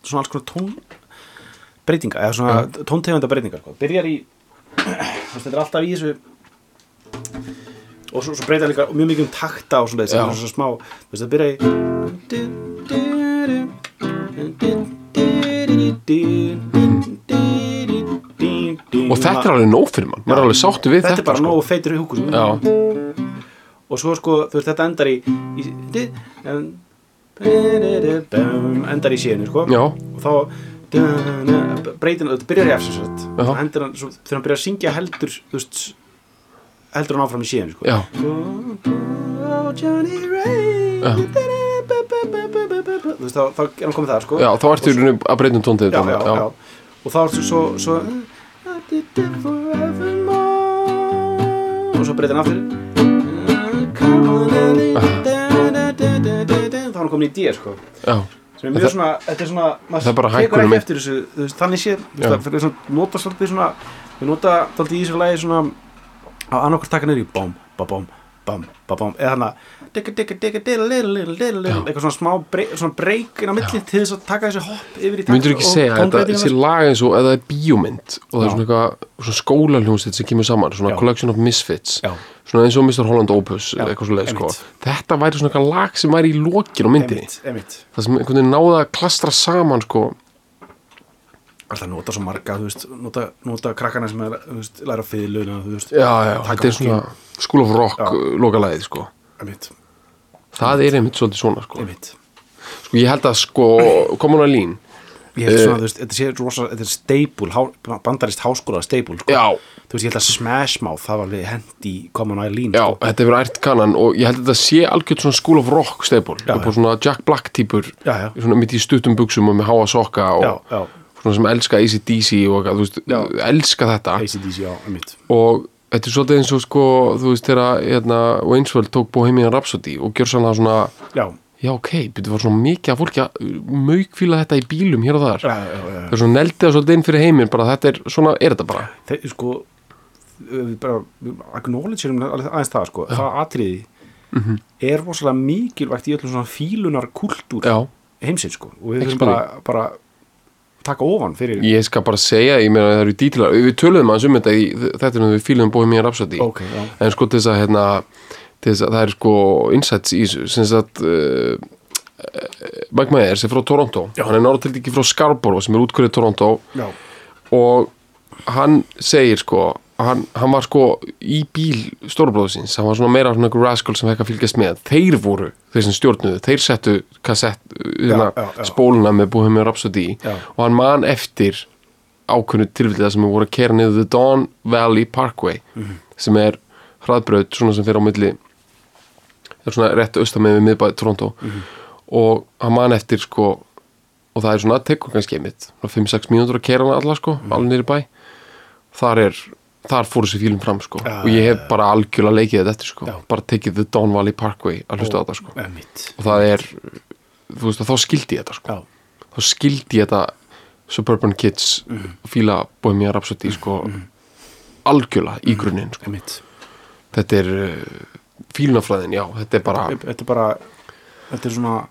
Speaker 2: svona alls konar tónbreytinga eða svona ja. tóntegunda breytingar sko. byrjar í þú veist, þetta er alltaf í þessu og svo, svo breytar líka mjög mikið um takta og svona
Speaker 1: Já.
Speaker 2: þessu smá, þú veist, það byrja í
Speaker 1: og þetta er alveg nóg fyrir mann maður er alveg sáttu við
Speaker 2: þetta
Speaker 1: þetta,
Speaker 2: er bara
Speaker 1: sko.
Speaker 2: nógu feitur húkur sko.
Speaker 1: já,
Speaker 2: og svo sko þú veist þetta endar í, í endar í síðan sko.
Speaker 1: já,
Speaker 2: og þá breytin þetta byrjar í F sem sagt.
Speaker 1: Já.
Speaker 2: Þá hendir hann, svo, þegar hann byrjar að syngja heldur þú veist, heldur hann áfram í síðan sko.
Speaker 1: já,
Speaker 2: Oh, Johnny Ray
Speaker 1: Já.
Speaker 2: Þú veist, þá, þá er hann komið það sko.
Speaker 1: já, þá ertu í rauninu að um breytum tóndið
Speaker 2: já, já, já. og þá er svo, svo, svo I did it forevermore. og svo breytir hann aftur Come on and eat da, da, da, da, da, da. þá er hann komin í D sko.
Speaker 1: já,
Speaker 2: sem er mjög
Speaker 1: Það-
Speaker 2: svona, þetta er svona maður
Speaker 1: það er bara
Speaker 2: tekur
Speaker 1: hækkunum
Speaker 2: ekki
Speaker 1: mitt.
Speaker 2: eftir þessu, þú veist, þannig sé
Speaker 1: Já.
Speaker 2: þú veist, það er svona, nota svolítið svona við nota svolítið í þessu lagi svona á annarkvort takkan er í bám, bá, bám, bám, bá, bám eða hann að digga, digga, digga, digga, digga, digga, digga, digga
Speaker 1: Já.
Speaker 2: eitthvað svona smá breyk, svona breyk inn á milli til þess að taka þessi hopp yfir í takt
Speaker 1: myndur ekki
Speaker 2: og
Speaker 1: segja að þetta
Speaker 2: tónbreytingarnar,
Speaker 1: sé lag eins og eða það er bíómynd og það
Speaker 2: Já.
Speaker 1: er svona eitthvað, svona skólaljónsitt sem kemur saman, svona
Speaker 2: Já.
Speaker 1: collection of misfits
Speaker 2: Já.
Speaker 1: svona eins og Mr. Holland Opus
Speaker 2: Já,
Speaker 1: eitthvað svo leið, sko,
Speaker 2: einmitt.
Speaker 1: þetta væri svona eitthvað lag sem væri í lokin á myndinni
Speaker 2: einmitt, einmitt
Speaker 1: það sem einhvern veginn náða að klastra saman, sko,
Speaker 2: alltaf nota svo marga, þú veist, nota, nota krakkana sem er, þú veist, læra fiðluna, þú veist,
Speaker 1: já, já,
Speaker 2: Taka
Speaker 1: þetta er svona School of Rock
Speaker 2: Já.
Speaker 1: uh, lokalæðið, sko
Speaker 2: einmitt,
Speaker 1: það er einmitt svolítið svona, sko
Speaker 2: einmitt
Speaker 1: sko, ég held að, sko, Common Aline Eh,
Speaker 2: Ég held svona, þú veist, þetta sé rosa, þetta er steipul, há, bandarist háskóla steipul, sko.
Speaker 1: já,
Speaker 2: Þú veist, ég held að Smash Mouth, það var alveg hend í Common Eileen,
Speaker 1: já,
Speaker 2: sko.
Speaker 1: þetta hefur ært kannan og ég held að þetta sé algjört svona School of Rock stefból,
Speaker 2: Já,
Speaker 1: upp á
Speaker 2: já.
Speaker 1: svona Jack Black típur
Speaker 2: Já, já.
Speaker 1: svona mitt í stuttum buksum og með háa sokka og
Speaker 2: Já, já.
Speaker 1: svona sem elska ACDC og eitthvað, þú veist,
Speaker 2: Já.
Speaker 1: elska þetta
Speaker 2: ACDC, já, einmitt.
Speaker 1: og þetta er svolítið eins og sko þú veist, þegar hérna, Wainsworld tók Bohemian Rhapsody og gjör sannlega svona
Speaker 2: Já,
Speaker 1: já, ok, betur var svona mikið að fólki að maukfíla þetta í bílum hér og þar
Speaker 2: já, já, já.
Speaker 1: það er svona neldið að svolítið inn fyrir heiminn bara þetta er, svona er þetta bara
Speaker 2: Þeir, sko, við bara, við acknowledgerum alveg aðeins það, sko. Það atriði
Speaker 1: Mhm.
Speaker 2: er rosalega mikilvægt í öllum svona fílunar kultúr
Speaker 1: já,
Speaker 2: heimsins, sko. Og við
Speaker 1: Ekki
Speaker 2: þurfum bara, bara taka ofan fyrir...
Speaker 1: ég skal bara segja, ég meina það eru dítilar við töluðum aðeins um þetta í þetta er við fílum Bohemian Rhapsody
Speaker 2: Ok, já.
Speaker 1: en sko til þess að hérna til þess að það er sko insights í þessu sem sagt uh, Mike Myers er frá Toronto
Speaker 2: Já.
Speaker 1: hann er náttúrulega ekki frá Scarborough sem er útkvörið Toronto
Speaker 2: Já,
Speaker 1: og hann segir sko hann, hann var sko í bíl stórubróðu síns, hann var svona meira svona einhver rascal sem hekka fylgjast með, þeir voru þeir sem stjórnuðu, þeir settu kassett, hérna,
Speaker 2: já, já.
Speaker 1: spóluna með Bohemian Rhapsody í.
Speaker 2: Já.
Speaker 1: og hann man eftir ákunnu tilfellið þar sem við voru að kera niður The Dawn Valley Parkway
Speaker 2: Mhm.
Speaker 1: sem er hraðbraut svona sem fyrir á milli er svona rétt austan með við miðbæði Toronto
Speaker 2: Mhm.
Speaker 1: og hann man eftir sko og það er svona tekur kannski einmitt svona 5-6 mínútur að kera hana alla sko
Speaker 2: Mhm.
Speaker 1: alveg niður í bæ þar er þar fór þessi fílum fram sko
Speaker 2: Já,
Speaker 1: og ég hef bara algjörlega leikið þetta eftir sko
Speaker 2: Já.
Speaker 1: bara tekið The Dawn Valley Parkway að hlusta á þetta sko
Speaker 2: einmitt.
Speaker 1: og það er þú veist að þá skildi ég þetta sko
Speaker 2: Já,
Speaker 1: þá skildi ég þetta Suburban Kids
Speaker 2: Mhm.
Speaker 1: fíla Bohemian Rhapsody sko algjörlega
Speaker 2: Mhm.
Speaker 1: í grunninn sko.
Speaker 2: einmitt.
Speaker 1: þetta er uh, fílnafræðin, já, þetta er bara
Speaker 2: þetta er bara þetta er svona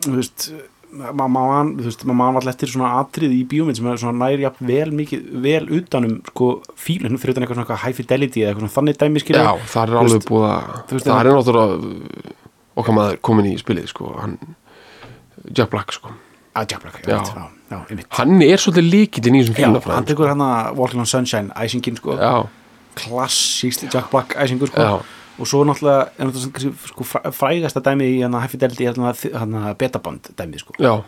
Speaker 2: þú veist maður man, þú veist, maður man alltaf eftir svona atrið í bíómynd sem er svona næri jafn vel mikið vel utanum sko fílun fyrir utan eitthvað svona eitthvað high fidelity eða eitthvað svona þannig dæmi skilja
Speaker 1: já, það er
Speaker 2: Þú
Speaker 1: alveg
Speaker 2: veist-
Speaker 1: búið að
Speaker 2: þú veist,
Speaker 1: það
Speaker 2: en-
Speaker 1: er náttúrulega uh, okkar maður komin í spilið sko, hann Jack Black sko
Speaker 2: að Jack Black
Speaker 1: Já.
Speaker 2: einmitt, já, já, einmitt
Speaker 1: hann er svolítið líkitinn í þessum
Speaker 2: Já, hann
Speaker 1: fílnafræðum
Speaker 2: tekur hann að Walking on Sunshine æsingin sko,
Speaker 1: já,
Speaker 2: klassíst Jack Black æsingur sko
Speaker 1: Já.
Speaker 2: og svo náttúrulega, er náttúrulega kannski, sko, fræ- frægasta dæmi í hérna hann að Happy Delty er hann að betaband dæmi sko
Speaker 1: já,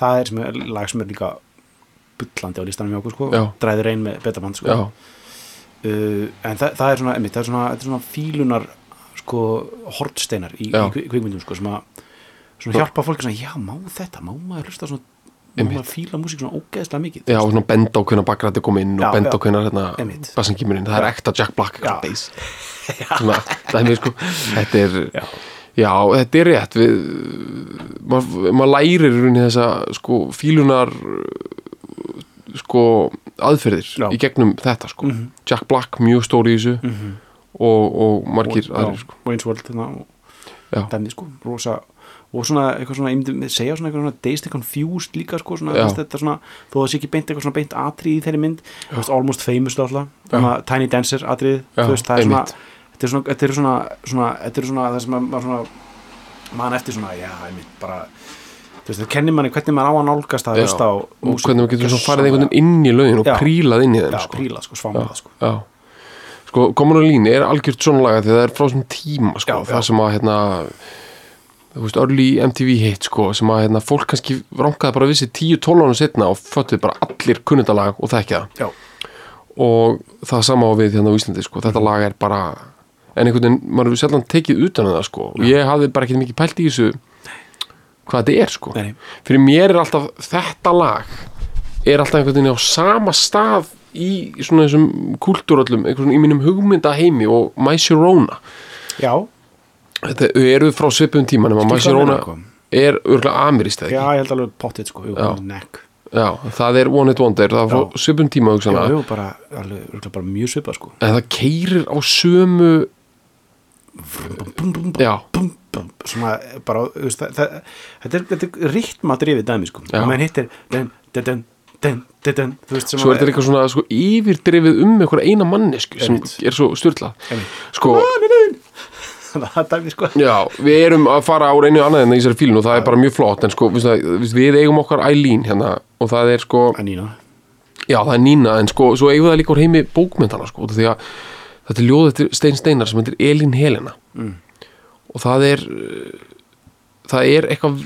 Speaker 2: það er sem er lag sem er líka bullandi á listanum hjá okkur sko
Speaker 1: Já.
Speaker 2: dræður einn með betaband sko
Speaker 1: já
Speaker 2: uh, en þa það er svona, einmitt, það er svona, þetta er svona fílunar sko hortsteinar í,
Speaker 1: Já. Sko-
Speaker 2: í kvi- kvikmyndum sko sem að svona hjálpa fólki svona, já má þetta, má maður hlusta svona má
Speaker 1: Einmitt.
Speaker 2: maður fíla músík svona ógeðslega mikið
Speaker 1: Já, og svona benda á hvernig bakrætti kom inn
Speaker 2: Já,
Speaker 1: og benda á
Speaker 2: já.
Speaker 1: hvernig hérna,
Speaker 2: Einmitt.
Speaker 1: bassin kemur inn, það er ekta Jack Black
Speaker 2: Já.
Speaker 1: bass. svona, dæmi, sko. þetta er já. þetta er rétt við maður ma lærir í rauninni þessa sko, fílunar uh, sko, aðferðir
Speaker 2: Já. Mhm.
Speaker 1: í gegnum þetta sko. Jack Black mjög stóri í þessu og, og margir
Speaker 2: og,
Speaker 1: aðrir
Speaker 2: já,
Speaker 1: sko.
Speaker 2: Wayne's World þarna, og
Speaker 1: Já.
Speaker 2: dæmið sko, rosa og svona, eitthvað svona, ég myndi segja svona eitthvað svona Dazed and Confused líka sko, svona,
Speaker 1: Já.
Speaker 2: þess, þetta svona þó það sé ekki beint eitthvað svona beint atrið í þeirri mynd þú veist, Almost Famous alltaf, svona, Tiny Dancer atrið,
Speaker 1: Já,
Speaker 2: þú veist, það er svona
Speaker 1: einmitt.
Speaker 2: þetta er svona, þetta er svona, svona þetta er svona, það sem maður svona mann eftir svona, já, einmitt, bara þú veist, það kennir manni hvernig maður á að nálgast að
Speaker 1: Já.
Speaker 2: hlusta á
Speaker 1: og hvernig maður getur svona farið einhvern veginn inn í lögin og
Speaker 2: Já.
Speaker 1: prílað inn í þeim
Speaker 2: já,
Speaker 1: sko.
Speaker 2: príla, sko, svamála, sko
Speaker 1: Já, sko, Common on Lean er algjört svona laga því það er frá svona tíma, sko,
Speaker 2: Já, já.
Speaker 1: það sem að, hérna, þú veist, early MTV hit, sko, sem að, hérna, fólk kannski rankaði bara vissi 10-12 ára setna og föttuði bara allir kunnundalag og þekkja það
Speaker 2: já,
Speaker 1: og það sama á við hérna á Íslandi, sko, þetta lag er bara, en einhvern veginn, maður hefur sjaldan tekið utan að það, sko, og ég hafði bara ekkert mikið pælt í þessu hvað þetta er, sko.
Speaker 2: Nei, nei.
Speaker 1: Fyrir mér er alltaf þetta lag er alltaf einhvern veginn á sama stað í svona þessum kultúrallum, einhvern veginn í mínum hugmyndaheimi og My Sharona.
Speaker 2: já,
Speaker 1: Þetta eru frá svipum tíma nema My
Speaker 2: hvað
Speaker 1: Sharona
Speaker 2: meina, sko?
Speaker 1: er örgulega amirist
Speaker 2: já,
Speaker 1: eða ekki.
Speaker 2: ég held alveg pottit, sko, jú,
Speaker 1: Já.
Speaker 2: neck
Speaker 1: Já, það er One It Wonder, það er frá svipum tíma
Speaker 2: Já,
Speaker 1: hugsanlega.
Speaker 2: jú, bara, alveg, örugglega bara mjög svipað sko
Speaker 1: En það keirir á sömu,
Speaker 2: bum, bum, bum,
Speaker 1: já,
Speaker 2: bum, bum, svona bara, þú veist, það, það, þetta er, þetta er ríktma drifið dæmi sko
Speaker 1: Já.
Speaker 2: og menn hittir den, den, den, den, den, den þú veist sem
Speaker 1: svo er þetta líka svona sko, yfirdrifið um einhverja eina mannesku sem
Speaker 2: Einmitt.
Speaker 1: er svo styrlað.
Speaker 2: Einmitt.
Speaker 1: Sko,
Speaker 2: það dæmi sko
Speaker 1: Já, við erum að fara á reynu annað en í þessari fílun og það er bara mjög flott en sko, við, við, við eigum okkar Eileen hérna og það er sko,
Speaker 2: að nýna,
Speaker 1: já það er Nína en sko, svo eigum við það líka úr heimi bókmyndana sko, út af því að þetta er ljóð eftir Stein Steinar sem heitir Elín Helena og það er eh, það er eitthvað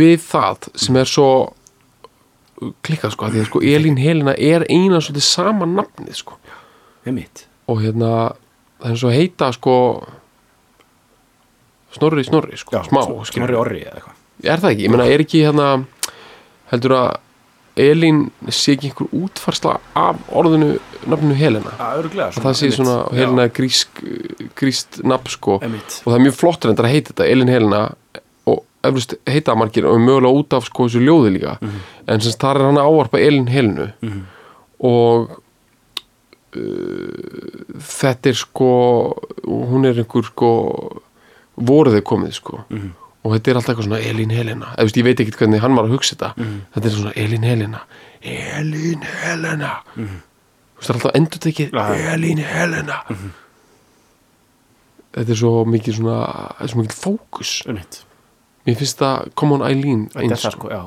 Speaker 1: við það sem er svo klikkað sko, af því að sko Elín Helena er eina svolítið sama nafnið sko
Speaker 2: einmitt
Speaker 1: og hérna það er svo að heita sko Snorri, snorri, sko, smá skilur.
Speaker 2: snorri orri eða eitthvað
Speaker 1: Er það ekki? Ég meina, er ekki hérna heldur að Elín sé ekki einhver útfarsla af orðinu, nafninu Helena
Speaker 2: að örglega,
Speaker 1: að það sé svona Helena grísk, gríst nafn sko
Speaker 2: Einmitt.
Speaker 1: og það er mjög flott reyndar að heita þetta Elín Helena og eflust heita það margir og mögulega út af sko þessu ljóði líka
Speaker 2: Mhm.
Speaker 1: en sem sagt, þar er hann að ávarpa Elín Helenu og uh, þetta er sko og hún er einhver sko voruði komið sko
Speaker 2: Mhm.
Speaker 1: og þetta er alltaf eitthvað svona Elín Helena Eða, þú veist, ég veit ekkert hvernig hann var að hugsa þetta
Speaker 2: Mhm.
Speaker 1: þetta er svona Elín Helena Elín Helena þú veist, það er alltaf endur tekið
Speaker 2: Mhm. Já, já. Mhm.
Speaker 1: Elín Helena þetta er svo mikið svona þetta er svo mikið fókus
Speaker 2: einmitt,
Speaker 1: mér finnst það Common Eileen
Speaker 2: þetta
Speaker 1: eins
Speaker 2: er það sko, já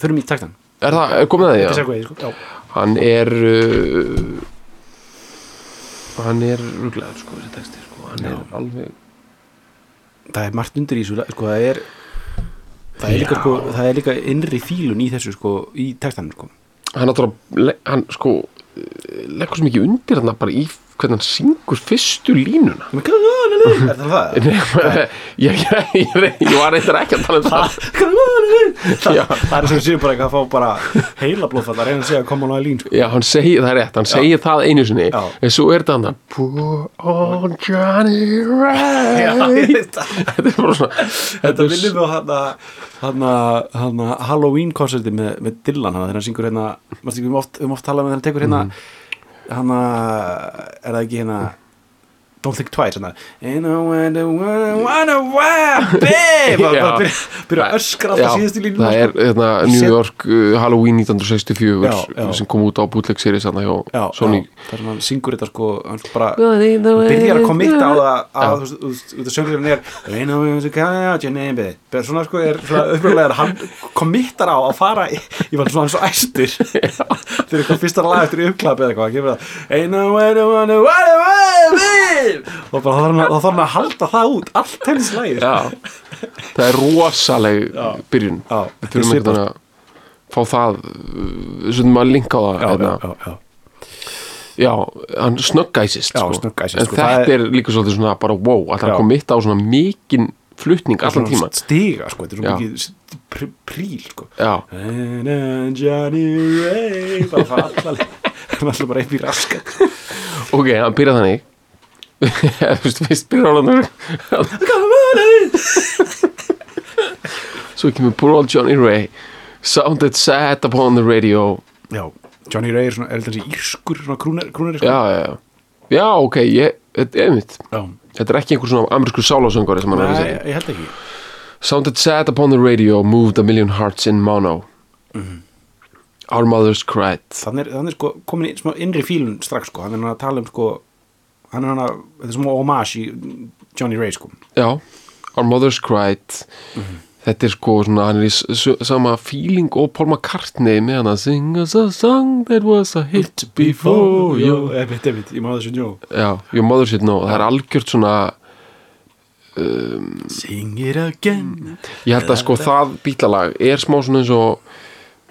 Speaker 2: þurfum í taktan,
Speaker 1: er það, er komið að því?
Speaker 2: þetta
Speaker 1: já?
Speaker 2: er segveið sko já,
Speaker 1: hann er uh, hann er ruglaður sko þessi texti sko hann
Speaker 2: Já.
Speaker 1: er alveg
Speaker 2: það er margt undir í þessu sko, það er það er líka sko, það er líka innri fílun í þessu sko, í taktanum sko
Speaker 1: hann náttúrulega le- hann sko eh, leggur svo mikið undir hann bara í hvernig hann syngur fyrstu línuna
Speaker 2: er það það?
Speaker 1: Nei, ég, ég, ég, ég var eitthvað ekki að tala um það Já.
Speaker 2: það, það er sem sé bara ekki að fá bara heila blóðfall að reyna að segja koma á að lín sko.
Speaker 1: Já, hann segir, það er rétt, hann segir það einu sinni
Speaker 2: Já.
Speaker 1: en svo er þetta hann Poor old Johnny Ray
Speaker 2: þetta
Speaker 1: Þetta er bara svona
Speaker 2: þetta
Speaker 1: er
Speaker 2: minnir mig á hana, hana, hana Halloween konserti með, með Dylan hana þegar hann syngur hérna maður
Speaker 1: Mhm.
Speaker 2: eh, styrir um oft, um oft talað með þegar hann tekur hérna hana er það ekki hérna Don't think twice svona, And I wanna, wanna, wanna, wanna
Speaker 1: Já.
Speaker 2: Babe Bara byrja- Byrja að öskra alltaf síðustu sko. línu
Speaker 1: það er hérna, New
Speaker 2: Set-
Speaker 1: York uh, Halloween 1964
Speaker 2: Já, já.
Speaker 1: sem kom út á bootleg series hann hjá
Speaker 2: já,
Speaker 1: Sony
Speaker 2: já, þar sem hann syngur þetta sko hann sko bara byrjar að komitta á það að þú veist, þú veist, þú veist, söngurinn er reyna á þessu kæðja neymi bara svona sko er svona uppræðlega er hann komittar á að fara í- ég var svona svo æstur þegar eitthvað fyrsta lag eftir uppklapp eða eitthvað kemur það eina vana vana vana vana og bara þá þarf hann að- þá þarf hann að halda það út allt hennis lagið
Speaker 1: já. það er rosaleg byrjun við
Speaker 2: Já, þetta er
Speaker 1: þurfum
Speaker 2: svipað.
Speaker 1: eitthvað að fá það sem maður linka á það
Speaker 2: já,
Speaker 1: hérna.
Speaker 2: já, já, já.
Speaker 1: já, hann snöggæsist
Speaker 2: Já,
Speaker 1: sko.
Speaker 2: snöggæsist,
Speaker 1: en
Speaker 2: sko.
Speaker 1: þetta
Speaker 2: Það
Speaker 1: er líka svolítið svona bara wow, að það
Speaker 2: Já.
Speaker 1: kom mitt á svona mikinn flutning allan
Speaker 2: Svona
Speaker 1: tíman
Speaker 2: stiga sko þetta er
Speaker 1: Já.
Speaker 2: svo mikið st- pr- príl sko
Speaker 1: já,
Speaker 2: And I'm Johnny Ray bara fara allar allar bara upp í raskat
Speaker 1: ok, hann byrja þannig þú veist, fyrst byrja hann svo kemur poor old Johnny Ray sounded sad upon the radio
Speaker 2: Já, Johnny Ray er svona, er þetta þessi írskur svona krúnari, krúnari sko?
Speaker 1: já, já, já já, ok, ég, þetta er mitt
Speaker 2: Já,
Speaker 1: þetta er ekki einhver svona amerísku sálasöngari sem hann er að
Speaker 2: Nei,
Speaker 1: segja
Speaker 2: ég held ekki
Speaker 1: sounded sad upon the radio moved a million hearts in mono Mhm. our mothers cried
Speaker 2: Þannig er, þannig er sko komin í smá innri fílun strax sko, hann er hann að tala um sko hann er hann að, þetta er smá homage í Johnny Ray sko
Speaker 1: já, our mothers cried þetta er sko svona hann er í s- s- sama feeling og Paul McCartney með hann að sing us a song that was a hit before you
Speaker 2: Ég veit, ég veit, ég má þessu njó
Speaker 1: já, your mother should know, það er algjört svona
Speaker 2: Sing it again
Speaker 1: ég held að sko það bítlalag er smá svona eins og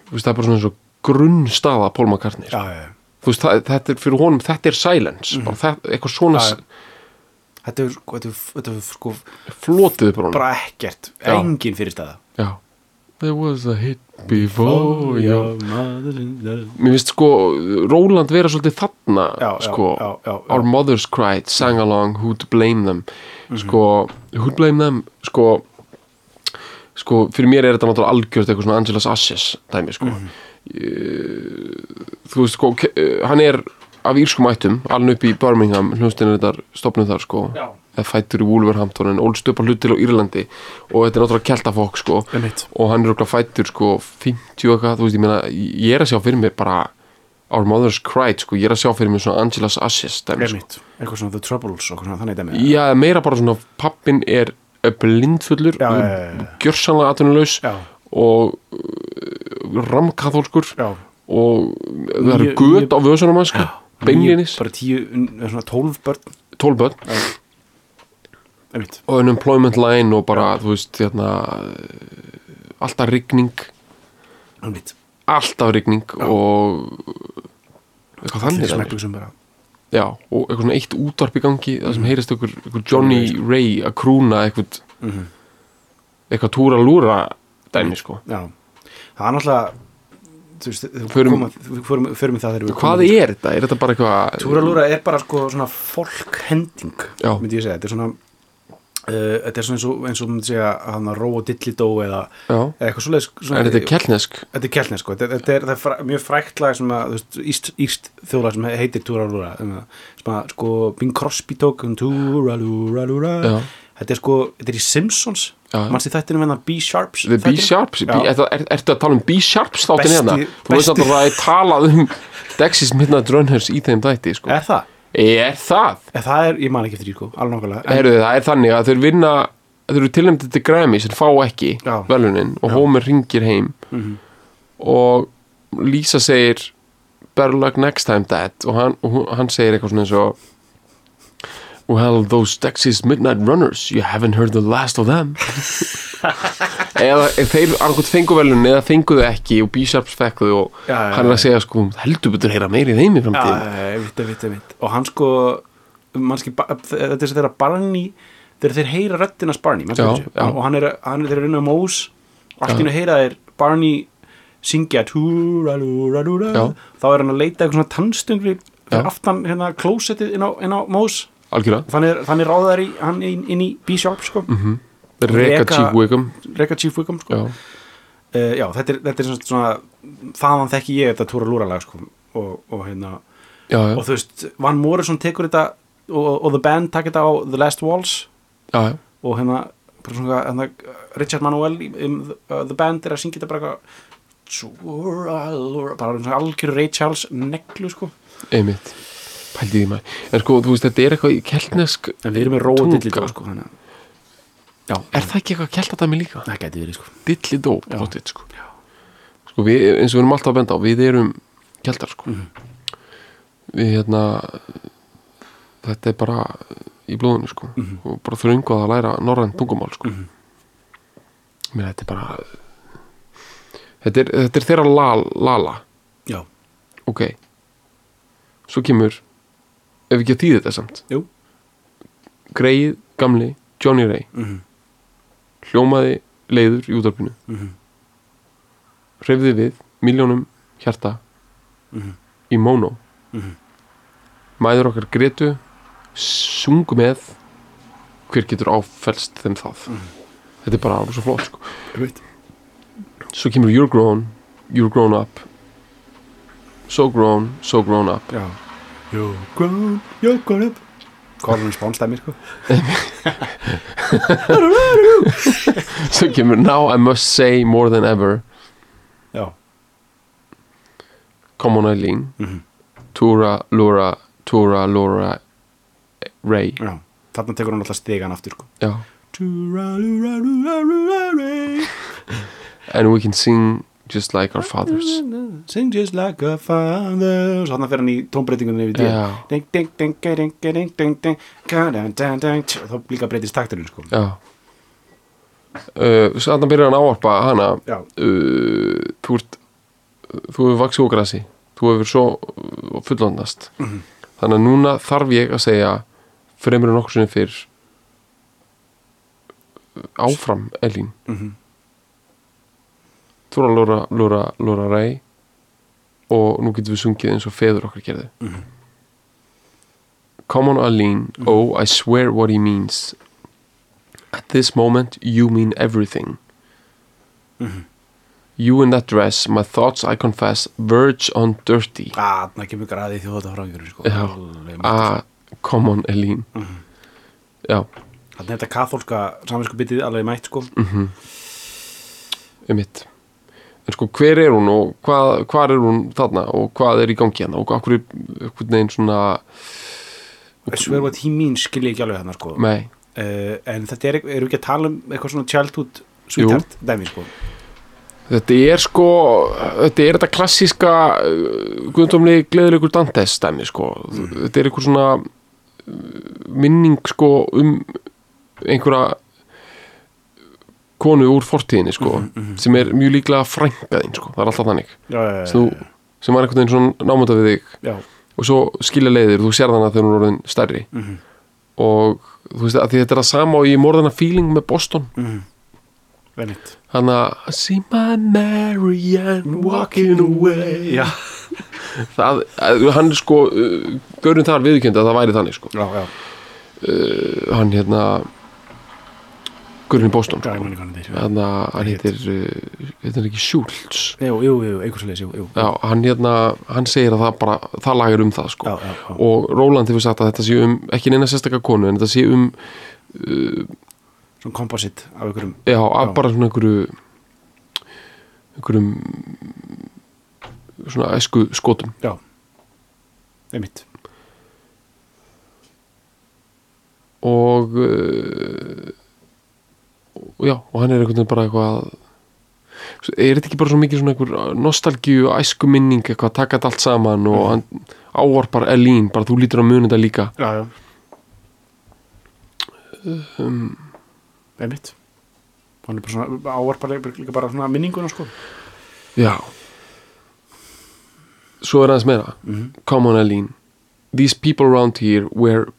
Speaker 1: þú veist, það er bara svona eins og grunnstaða Paul McCartney sko.
Speaker 2: Já, já, já
Speaker 1: þú veist, það, þetta er fyrir honum, þetta er silence bara það, eitthvað svona
Speaker 2: Já,
Speaker 1: ja,
Speaker 2: já. Þetta er, sko- þetta er, þetta er sko
Speaker 1: flotið upp á honum
Speaker 2: bara ekkert,
Speaker 1: Já.
Speaker 2: engin fyrirstæða
Speaker 1: já. there was a hit before you
Speaker 2: já,
Speaker 1: mér finnst sko Róland vera svolítið þarna
Speaker 2: Já, já,
Speaker 1: sko,
Speaker 2: já, já, já. Mm.
Speaker 1: Our Mothers Cried, Sang Along, Who'd Blame Them
Speaker 2: Mhm.
Speaker 1: sko, Who'd Blame Them sko, sko fyrir mér er þetta náttúrulega algjört eitthvað svona Angelas Assis dæmi sko
Speaker 2: Mhm.
Speaker 1: Eh, þú veist sko ke- eh, hann er af írskum ættum alveg upp í Birmingham, hljóstinu þetta stopnum þar sko,
Speaker 2: Já.
Speaker 1: eða fættur í Wolverhampton en ólst upp að hlutil á Írlandi og þetta er náttúrulega keltafólk sko
Speaker 2: Einmitt.
Speaker 1: og hann er okkur fættur sko 50 og eitthvað, þú veist, ég meina ég er að sjá fyrir mér bara Our Mother's Cried, sko, ég er að sjá fyrir mér svona Angela's Ashes dæmi, sko.
Speaker 2: einmitt Eitthvað svona The Troubles og eitthvað svona, þannig dæmi
Speaker 1: Já, meira bara svona pappin er blindfullur
Speaker 2: Já, já, já, já.
Speaker 1: gjörsanlega atvinnulegs
Speaker 2: Já,
Speaker 1: og uh, ramkathólskur
Speaker 2: já
Speaker 1: og það eru
Speaker 2: Níu-
Speaker 1: göt
Speaker 2: níu-
Speaker 1: á vöðsunum hans sko, beinlinis,
Speaker 2: Bara tíu, eða svona tólf börn
Speaker 1: tólböð
Speaker 2: einmitt
Speaker 1: og unemployment line og bara, þú veist, hérna eh, alltaf rigning
Speaker 2: Einmitt.
Speaker 1: alltaf rigning og eitthvað þannig dæmi.
Speaker 2: Smekkbuxum bara
Speaker 1: Já, og eitthvað svona eitt útvarp í gangi það
Speaker 2: Mm.
Speaker 1: sem heyrist okkur, okkur Johnny Ray að krúna eitthvað
Speaker 2: Mhm.
Speaker 1: eitthvað túra-lúra dæmi sko
Speaker 2: Já Það er náttúrulega Þú veist, þú
Speaker 1: Förum-
Speaker 2: koma- þú- förum förum í það þegar við
Speaker 1: Hvað
Speaker 2: komum-
Speaker 1: er þetta? Er þetta bara eitthvað
Speaker 2: Túralúra er bara sko svona folkhending
Speaker 1: Já.
Speaker 2: Myndi ég segja, þetta er svona uh, Þetta er svona eins og, eins og myndi segja Hann að róa dillidó eða
Speaker 1: Já,
Speaker 2: eða Eitthvað svoleiðis svona-
Speaker 1: en þetta er kellnesk
Speaker 2: Þetta er keltnir sko, þetta, þetta er, það er fræ, mjög frækt lag sem að, þú veist, íst, íst þjóðlag sem heitir Túralúra sem að, sem að, sko, Bing Crosby tók um Túralúralúra
Speaker 1: Já.
Speaker 2: Þetta er sko, þetta er í Simpsons
Speaker 1: Já.
Speaker 2: Manstu hérna, þættinu með það B-Sharps
Speaker 1: The B-Sharps,
Speaker 2: Já.
Speaker 1: B- er, er, ertu að tala um B-Sharps þáttin
Speaker 2: Besti-
Speaker 1: hérna? Þú veist að
Speaker 2: besti-
Speaker 1: það er talað um Dexys Midnight Runners í þeim dætti sko
Speaker 2: Er það?
Speaker 1: Er það?
Speaker 2: Er það er, ég man ekki eftir því sko, alveg nákvæmlega
Speaker 1: Heyrðu, það er þannig að þeir vinna að þeir eru tilnæmdið til Grammy sem fá ekki
Speaker 2: Já. Mhm.
Speaker 1: velunin og Homer ringir heim og Lisa segir better luck next time dad og hann, og hún- hann segir eitthvað svona eins og well those Texas midnight runners you haven't heard the last of them eða ef þeir annarkot fengu velunin eða fengu þau ekki og B-Sharps fekk þau og
Speaker 2: Já, já,
Speaker 1: hann er
Speaker 2: já.
Speaker 1: að segja sko heldur betur heyra meiri þeim í
Speaker 2: Já,
Speaker 1: framtíðin
Speaker 2: ég veit, ég veit, ég veit Og hann sko, mannski, ba- þetta er þess að þeirra Barney Þegar þeir heyra röddinast Barney, mannski
Speaker 1: Já,
Speaker 2: þessu
Speaker 1: já.
Speaker 2: Og hann er, hann er þeirra inn á Mós Og allt í hennu heyra þeir Barney syngja Túralúralúra
Speaker 1: Já.
Speaker 2: Þá er hann að leita eitthvað svona tannstöng Fyrir
Speaker 1: Já.
Speaker 2: fyrir aftan hérna klósettið inn á, inn á Mós
Speaker 1: algjörlega,
Speaker 2: Þannig, er- þannig ráðar í, hann inn, inn í B-Sharp sko mm -hmm.
Speaker 1: reka
Speaker 2: Reka-
Speaker 1: Chief Wiggum
Speaker 2: Rekka Chief Wickham sko
Speaker 1: já
Speaker 2: uh, já, þetta er, þetta er svona, svona þaðan þekki ég þetta Túra Lúra lag sko, og, og hérna
Speaker 1: Já, já.
Speaker 2: og þú veist, Van Morrison tekur þetta og, og The Band takk þetta á The Last Walls
Speaker 1: já, já,
Speaker 2: og hérna, bara svona, hérna Richard Manuel í- um uh, The Band er að syngja þetta bara eitthvað Sure, I'll- bara svona algjör Ray Charles neglu sko
Speaker 1: einmitt pældi því maður, en sko, þú veist, þetta er eitthvað í keltnesk,
Speaker 2: en við erum með róa
Speaker 1: Tunga.
Speaker 2: dillidó sko þannig að já,
Speaker 1: er það ekki eitthvað keltadæmi líka?
Speaker 2: það gæti verið sko
Speaker 1: dilli dó pottit sko. sko við, eins og við erum alltaf að benda á við erum kjeldar sko
Speaker 2: Mhm.
Speaker 1: við hérna þetta er bara í blóðinu sko
Speaker 2: Mhm.
Speaker 1: og bara þröngu að læra norræn tungumál sko mm -hmm. þetta er bara þetta er, þetta er þeirra la, lala
Speaker 2: já,
Speaker 1: ok svo kemur ef við ekki að þýða þetta samt
Speaker 2: jú,
Speaker 1: greið gamli Johnny Ray
Speaker 2: Mhm.
Speaker 1: hljómaði leiður í útarpinu
Speaker 2: Mhm.
Speaker 1: hreyfði við miljónum hjarta í mono mæður okkar gretu sungu með hver getur áfellst þeim það þetta er bara svo flott sko.
Speaker 2: ég veit
Speaker 1: svo kemur you're grown you're grown up so grown, so grown up
Speaker 2: já, jú, grown, jú, grown up Kornum spónstæmi sko
Speaker 1: svo kemur now I must say more than ever
Speaker 2: já,
Speaker 1: Come on Eileen
Speaker 2: Mhm.
Speaker 1: Tura, Lura, Tura, Lura Ray
Speaker 2: já, þarna tekur hann alltaf stegan aftur sko
Speaker 1: Já.
Speaker 2: Sing
Speaker 1: And we can sing just like our fathers
Speaker 2: just like a father Svo hann fyrir hann í tónbreytingunni yfir
Speaker 1: Já.
Speaker 2: ding, ding, ding, ding, ding, ding, ding, ding, ding, ding, ding, tsk, Þá líka breytist takturinn sko
Speaker 1: Já uh, Svo þarna byrjar hann að ávarpa hana
Speaker 2: Já,
Speaker 1: uh, Þú ert uh, Þú hefur vaksið úr grasi Þú hefur svo uh, fullondast Þannig að núna þarf ég að segja fremur en okkur sinni fyrr uh, áfram Elín
Speaker 2: mhm,
Speaker 1: Tóra Lóra, Lóra, Lóra Ræ og nú getum við sungið eins og feður okkar gerði Come on Aline oh I swear what he means at this moment you mean everything you in that dress my thoughts I confess verge on dirty
Speaker 2: aðna kemur graði þjóðata frangjörin sko
Speaker 1: Já.
Speaker 2: Þannig
Speaker 1: ah come on Aline já,
Speaker 2: er þetta kathólska samvinsku bitið alveg mætt sko
Speaker 1: um mitt Mhm. en sko hver er hún og hvað, hvað er hún þarna og hvað er í gangi hérna og hvað er einhvern veginn svona
Speaker 2: I swear what he means skilja ekki alveg hann sko uh,
Speaker 1: með
Speaker 2: En þetta er, eru ekki að tala um eitthvað svona childhood sweetheart dæmi sko
Speaker 1: Þetta er sko, þetta er þetta klassíska uh, guðdómli gleðilegur Dantes dæmi sko. Þetta er einhver svona uh, minning sko um einhverja konu úr fortíðinni sko
Speaker 2: Mhm,
Speaker 1: sem er mjög líklega frængaðinn sko, það er alltaf þannig
Speaker 2: Já, já,
Speaker 1: Svo þú, sem er einhvern veginn svona námönda við þig
Speaker 2: já, já,
Speaker 1: og svo skilja leiðir, þú sér þannig að þeir eru orðin stærri
Speaker 2: mhm,
Speaker 1: og þú veist að þetta er það sama og ég morðana feeling með Boston
Speaker 2: mhm. vennit
Speaker 1: hann að I see my Marianne walking away
Speaker 2: Já,
Speaker 1: það, að- hann sko uh, Gaurin þar viðkjöndi að það væri þannig sko
Speaker 2: já, já,
Speaker 1: hann hérna Gaurin í Boston
Speaker 2: já, ég
Speaker 1: sko
Speaker 2: man ekki hvað hann heitir.
Speaker 1: hann, hann heitir uh, heitir hann ekki Schultz
Speaker 2: Jú, jú, jú, einhvers leis, jú, jú.
Speaker 1: já, hann hérna, hann segir að það bara það lagar um það sko
Speaker 2: Já, já, já.
Speaker 1: og Róland hefur sagt að þetta sé um ekki neina sérstaka konu en þetta sé um,
Speaker 2: Svona komposit af einhverjum.
Speaker 1: já, að
Speaker 2: Já.
Speaker 1: bara svona einhverju einhverjum svona æsku skotum
Speaker 2: Já. Einmitt.
Speaker 1: og uh, og já, og hann er einhvern veginn bara eitthvað er þetta ekki bara svo mikið svona einhver nostalgíu, æsku minning eitthvað, taka þetta allt saman og hann ávarpar Elín, bara þú lítur að muni þetta líka
Speaker 2: Já, já.
Speaker 1: Um.
Speaker 2: Einmitt. Hann er bara svona ávarparlega líka bara svona minninguna, sko.
Speaker 1: já svo er aðeins meira come on Elín these people around here were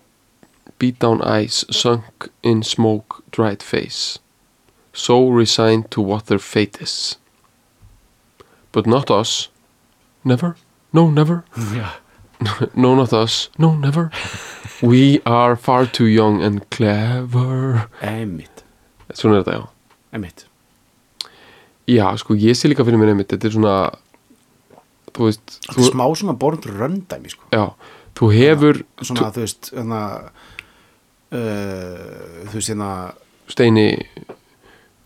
Speaker 1: beat down eyes, sunk in smoke dried face so resigned to what their fate is but not us never, no never
Speaker 2: Já.
Speaker 1: no, not us. No, never. We are far too young and clever.
Speaker 2: Einmitt.
Speaker 1: Svona er þetta, já.
Speaker 2: Einmitt.
Speaker 1: Já, sko, ég sé líka fyrir mér einmitt. Þetta er svona, þú veist,
Speaker 2: Þetta
Speaker 1: þú,
Speaker 2: er smá svona borður röndæmi, sko.
Speaker 1: já, þú hefur
Speaker 2: svona þú veist hana, uh, þú veist hérna
Speaker 1: steini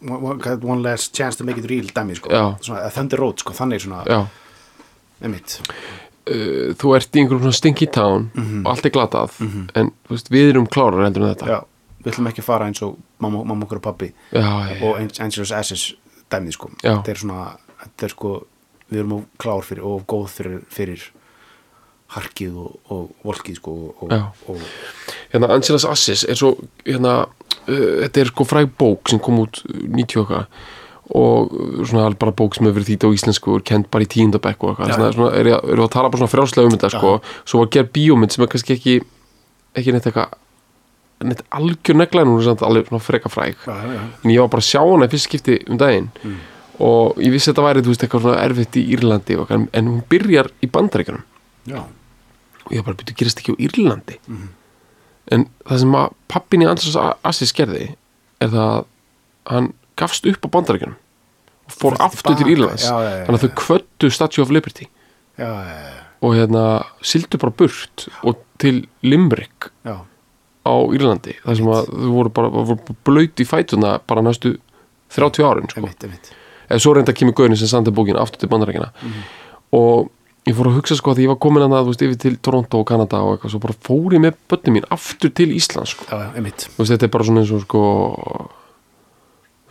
Speaker 2: one, one- one last chance to make it real dæmi sko,
Speaker 1: Já.
Speaker 2: svona, Thunder Road sko, þannig svona
Speaker 1: já,
Speaker 2: einmitt,
Speaker 1: uh, þú ert í einhverjum svona stinky town og allt er glatað en þú veist, við erum klárar heldur en þetta
Speaker 2: Mhm. já, við ætlum ekki að fara eins og mamma, mamma okkur og pappi
Speaker 1: já, já,
Speaker 2: og Ang- Angelus Ashes dæmi sko,
Speaker 1: Já.
Speaker 2: þetta er svona þetta er sko, við erum of klár fyrir og of góð fyrir, fyrir harkið og, og volkið sko og,
Speaker 1: Já.
Speaker 2: og,
Speaker 1: hérna Angelas Assis er svo hérna, uh, þetta er sko fræg bók sem kom út uh, 90 og eitthvað og uh, svona bara bók sem hefur verið þýtt á íslensku og er kent bara í tíundabekk og eitthvað
Speaker 2: Já.
Speaker 1: svona, svona, er, er að tala bara svona frjálslega um þetta
Speaker 2: Já.
Speaker 1: sko. svo var gerð bíómynd sem er kannski ekki ekki neitt eitthvað neitt algjör negla en hún er samt alveg svona freka fræg
Speaker 2: já, já, já.
Speaker 1: en ég var bara að sjá hana í fyrst skipti um daginn
Speaker 2: Mm.
Speaker 1: og ég vissi að þetta væri þú veist eitthvað svona erfitt í Írlandi og, eitthvað, en- en hún byrjar í bandaríkjunum
Speaker 2: Já.
Speaker 1: og ég bara byrju gerist ekki á Írlandi
Speaker 2: Mm.
Speaker 1: en það sem að pappin í Andras Assis gerði er það að hann gafst upp á bandaríkjunum og fór
Speaker 2: Fórst
Speaker 1: aftur til
Speaker 2: tilbaka,
Speaker 1: Írlands
Speaker 2: já, já, já,
Speaker 1: þannig að þau kvöttu Statue of Liberty
Speaker 2: Já, já, já,
Speaker 1: og hérna sildu bara burt og til Limerick
Speaker 2: já,
Speaker 1: Sko. á Írlandi þar sem að þau voru bara voru bara blaut í fætuna bara næstu 30 árin sko.
Speaker 2: einmitt, einmitt
Speaker 1: eða svo reynda að kemur gauðin sem sandi bókin aftur til bandarækina og ég fór að hugsa sko að því ég var komin að það veist, yfir til Toronto og Kanada og eitthvað svo bara fór ég með börnum mín aftur til Ísland sko.
Speaker 2: Já, já, einmitt
Speaker 1: Þú veist, þetta er bara svona eins og sko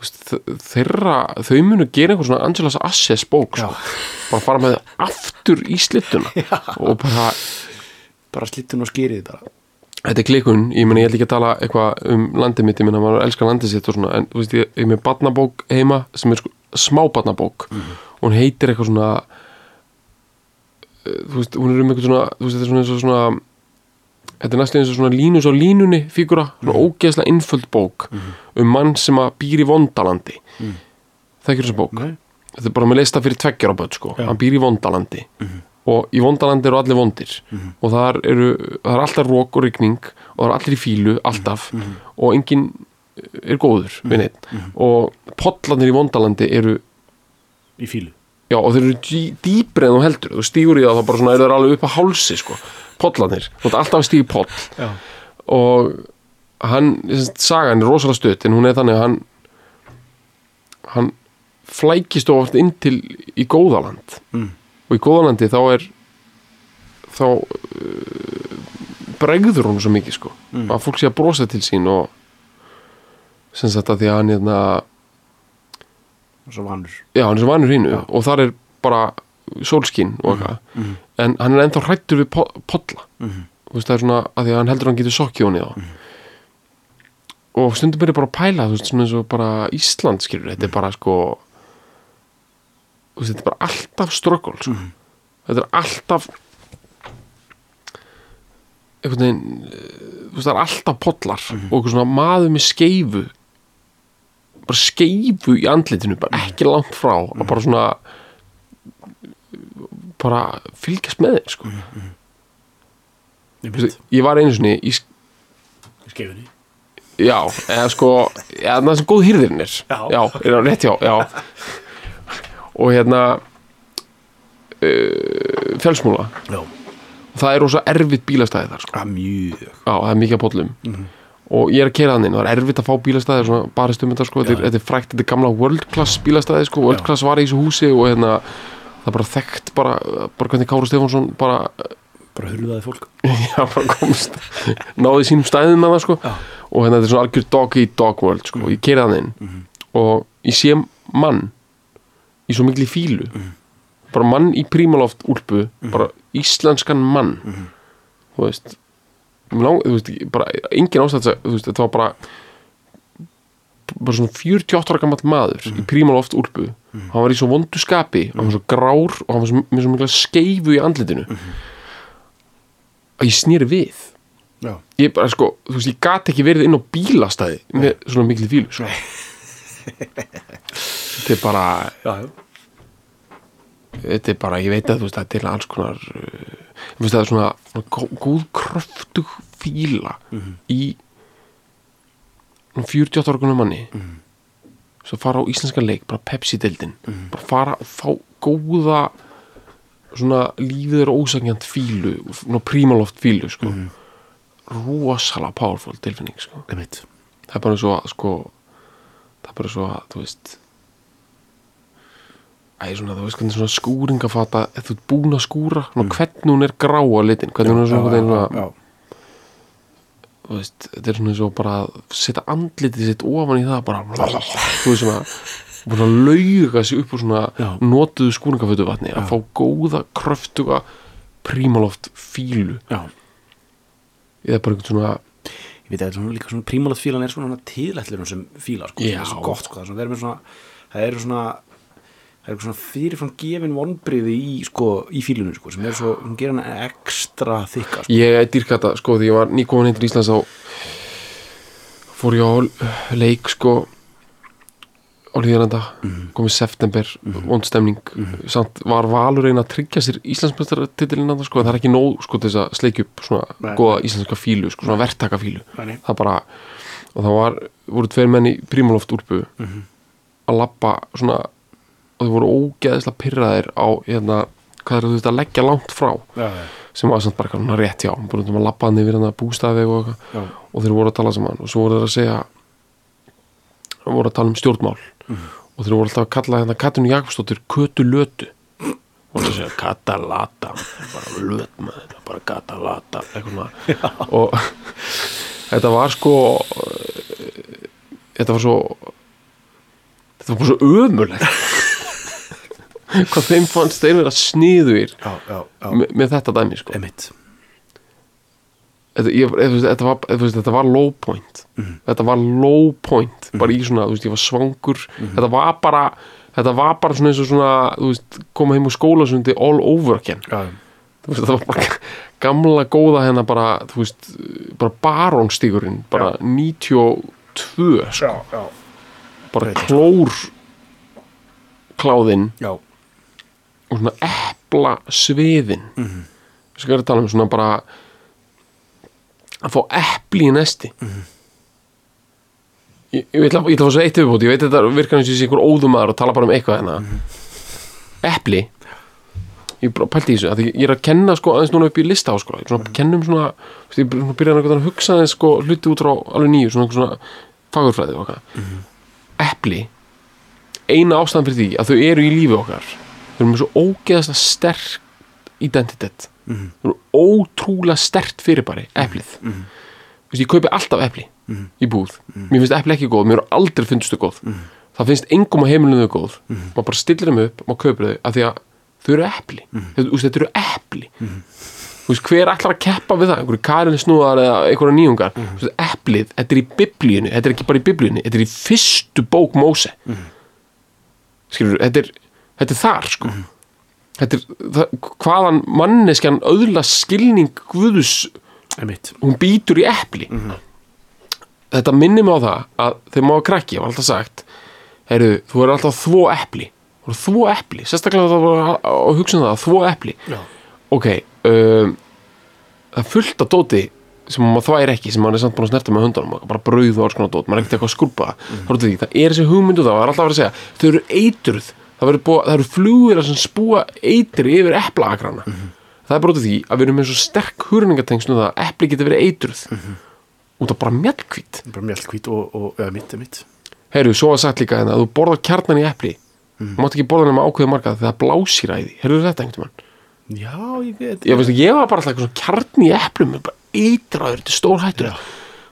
Speaker 1: þú veist, þe- þeirra, þau munu gera einhver svona Angelas Asses bók sko.
Speaker 2: Já.
Speaker 1: bara fara með það aftur í slittuna og bara
Speaker 2: bara slittun og skýrið bara
Speaker 1: þetta er klikun, ég meni ég ætla ekki að tala eitthvað um landið mitt, ég meni að maður elskar landið sitt og svona, en þú veist, ég ég er með barnabók heima sem er sko smábarnabók og hún heitir eitthvað svona eh, þú veist, hún er um eitthvað svona, þú veist, þetta er svona eins og svona þetta er næstu eins og svona línus á línunni fígura, svona ógeðslega innföld bók um mann sem að býr í vondalandi mm -hmm. það er ekki þessa bók
Speaker 2: Nei.
Speaker 1: þetta er bara með leista fyrir tveggjara börn sko. hann býr í vondalandi og í vondalandi eru allir vondir og þar eru, það er alltaf rók og rigning og það er allir í fílu, alltaf og enginn er góður við neitt og pollanir í vondalandi eru
Speaker 2: í fílu
Speaker 1: Já, og þeir eru dý, dýpri en þú heldur þú stígur í það og þá bara svona eru þeir alveg upp að hálsi sko, pollanir, þú ert alltaf að stíga í poll
Speaker 2: Já.
Speaker 1: og hann, þessi sagan er rosalega stutt en hún er þannig að hann hann flækist of oft inn til í góðaland
Speaker 2: Mm.
Speaker 1: og í góðalandi þá er þá uh, bregður hún svo mikið sko að fólk sé að brosa til sín og sem sagt að því að hann hérna,
Speaker 2: og svo vanur
Speaker 1: Já, hann er sem vanur hínu og þar er bara sólskín og eitthvað en hann er ennþá hrættur við po- polla þú veist, það er svona að því að hann heldur að hann getur sokkið hún í þá og stundum er ég bara að pæla þú veist, svona eins og bara Ísland skilur þetta er bara sko þú veist, þetta er bara alltaf ströggul sko. þetta er alltaf einhvern veginn eh, þú veist, það er alltaf pollar og einhver svona maður með skeifu bara skeifu í andlitinu bara ekki langt frá og bara svona bara fylgjast með þeir sko. Þú veist, ég var einu sinni í, sk-
Speaker 2: í skefinni
Speaker 1: já, eða sko eða það sem góð hýrðirinn er
Speaker 2: Já.
Speaker 1: já, er það rétt hjá, já og hérna uh, fjálsmúla
Speaker 2: já,
Speaker 1: það er rosa erfitt bílastæði þar sko.
Speaker 2: að mjög
Speaker 1: Já, það er mikið að bollum Og ég er að keira þannig, það er erfitt að fá bílastæði svona barist um þetta sko, þetta er, þetta er frækt þetta er gamla world class bílastæði sko, world
Speaker 2: Já.
Speaker 1: class var í þessu húsi og hérna það er bara þekkt bara, bara hvernig Kára Stefánsson bara,
Speaker 2: bara hurðaði fólk
Speaker 1: já, bara komst náði sínum stæðin með það sko
Speaker 2: Já.
Speaker 1: og hérna þetta er svona algjör dog í dog world sko, ég keira þannig og ég sé mann í svo mikli fílu bara mann í prímaloft úlpu bara íslenskan mann þú veist, lang, þú veist ég- bara engin ástætt þú veist, þetta var bara bara svona 48 ára gammal maður í prímaloft úlpu hann var í svo vondu skapi hann var svo grár og hann var svo, með svo mikla skeifu í andlitinu að ég snýri við
Speaker 2: já,
Speaker 1: ég bara sko, þú veist, ég gat ekki verið inn á bílastæði með svona miklu fílu sko. þetta er bara
Speaker 2: já, já
Speaker 1: þetta er bara, ég veit að þú veist, þetta er alls konar uh, þú veist, það er svona, svona gó- góð kröftug fíla í svona 48 ára gunum manni svo fara á íslenskan leik, bara Pepsi-deildin bara fara og fá góða svona lífið er ósækjant fílu svona prímaloft fílu sko. rosalega powerful tilfinning sko.
Speaker 3: einmitt
Speaker 1: það er bara svo að sko, það er bara svo að þú veist Æ, svona, þú veist hvernig svona skúringafata ef þú ert búin að skúra, svona, hvernig hún er grá á litin, hvernig hún er svona, Mm. já, svona
Speaker 3: já,
Speaker 1: þú veist, þetta er svona eins og bara að setja andlitið sitt ofan í það bara, þú veist svona búin að lauga sig upp úr svona
Speaker 3: Já.
Speaker 1: notuðu skúringafötu vatni að fá góða, kröftuga prímaloft fílu
Speaker 3: já.
Speaker 1: eða bara einhvern svona
Speaker 3: ég veit að þetta er svona líka svona prímalað fílan er svona tíðlættlur sem fílar sko, það
Speaker 1: Já.
Speaker 3: er svo gott sko, það er svona, það er með svona það eru svona það eru svona fyrirfram gefin vonbriði í sko, í fílunum sko, sem er svo, hún gerir hana ekstra þykka sko.
Speaker 1: ég dýrka þetta, sko, því ég var nýkomin heim til Íslands þá fór ég á leik, sko á hlýðarenda komið september, vond stemning samt var Valur einn að tryggja sér Íslandsmestartitilina, sko, en það er ekki nóg sko, til þess að sleikja upp svona
Speaker 3: Nei.
Speaker 1: góða íslenska fílu, sko, svona verktaka fílu
Speaker 3: Þannig.
Speaker 1: það bara, og það var voru tveir menn í Primaloft úlpu að labba svona og þau voru ógeðislega pirraðir á hérna, hvað er þetta að leggja langt frá
Speaker 3: já, já,
Speaker 1: sem var samt bara eitthvað svona rétt hjá hann bara um að labba hann yfir hann að bústafi og, eitthvað.
Speaker 3: já,
Speaker 1: og þeir voru að tala saman og svo voru þeir að segja þeir voru að tala um stjórnmál og þeir voru alltaf að kalla hérna Katun Jakobsdóttir Kötu Lötu og þeir segja Kata Lata bara löt maður, bara Kata Lata eitthvað svona og þetta var sko eh, þetta var svo þetta var bara svo ömulegt hvað þeim fannst þeir vera sniður
Speaker 3: já, já, já.
Speaker 1: með, með þetta dæmi sko
Speaker 3: emitt
Speaker 1: þetta, ég, ég, þú veist, þetta, var, ég, veist, þetta var low point þetta var low point bara í svona, þú veist, ég var svangur þetta var bara þetta var bara svona eins og svona þú veist, koma heim úr skólasundi all over again
Speaker 3: já,
Speaker 1: Þú veist, þetta var bara gamla góða hennar bara, þú veist, bara barónstíkurinn bara 92 sko,
Speaker 3: já, já,
Speaker 1: bara klór kláðinn
Speaker 3: já.
Speaker 1: og svona epla sviðin mm -hmm. sem er að tala um svona bara að fá epli í næsti ég, ég ætla ég ætla að fá svo eitt yfirbúti ég veit þetta virkar eins og ég sé einhver óðumaður og tala bara um eitthvað hérna epli ég bara pælti í þessu að ég er að kenna sko aðeins núna upp í lista á sko ég er svona að kenna um svona þú veist, ég er svona byrjaði að hugsa aðeins sko hluti út frá alveg nýju svona, svona fagurfræði okkar epli eina ástæðan fyrir því að þau eru í lífi okkar þau eru með svo ógeðasta sterk identitet þau eru ótrúlega stert fyrirbæri eplið mm -hmm. ég kaupi alltaf epli í búð mér finnst epli ekki góð, mér eru aldrei finnst þau góð það finnst engum á heimilinu þau góð maður bara stillir þeim upp, maður kaupir þau af því að þau eru epli þetta, úst, þetta eru epli Þú veist, hver ætlar að keppa við það, einhverju karinni snúðar eða einhverju nýjungar mm -hmm. eplið, þetta er í biblíunni, þetta er ekki bara í biblíunni þetta er í fyrstu bók Móse skilur, þetta er, þetta er þar sko þetta er, það, hvaðan manneskjan öðla skilning guðus
Speaker 3: emitt
Speaker 1: hún býtur í epli þetta minnir mig á það að þegar maður var krakki, ég var alltaf sagt heyrðu, þú er alltaf að þvó epli þú er að þvó epli, sérstaklega það var að, að hugsa um það, að þvó epli
Speaker 3: já,
Speaker 1: ok, um, það er fullt af dóti sem maður þvægir ekki, sem maður er samt búin að snerta með höndunum bara brauð og alls konar dót, maður er ekkert eitthvað að skrúpa mm. því, það er þessi hugmyndu það, það er alltaf að vera að segja, þau eru eitruð það, verður búa, það eru flugir sem spúa eitri yfir eplaakrana það er bara út af því að við erum með svo sterk hurningatengslu það að epli getur verið eitruð út af bara mjölkvít
Speaker 3: bara mjölkvít og, og emitt, emitt
Speaker 1: Heyrðu, svo var sagt líka hérna að þú borðar kjarnan í epli mm. mátt ekki borða nema ákveðu marga þegar blásýræði, heyrðu þetta einhvern tímann
Speaker 3: já, ég veit
Speaker 1: ég, veist, ég var bara alltaf eitthvað svona kjarni í eplum bara eitraður, þetta er stór hættur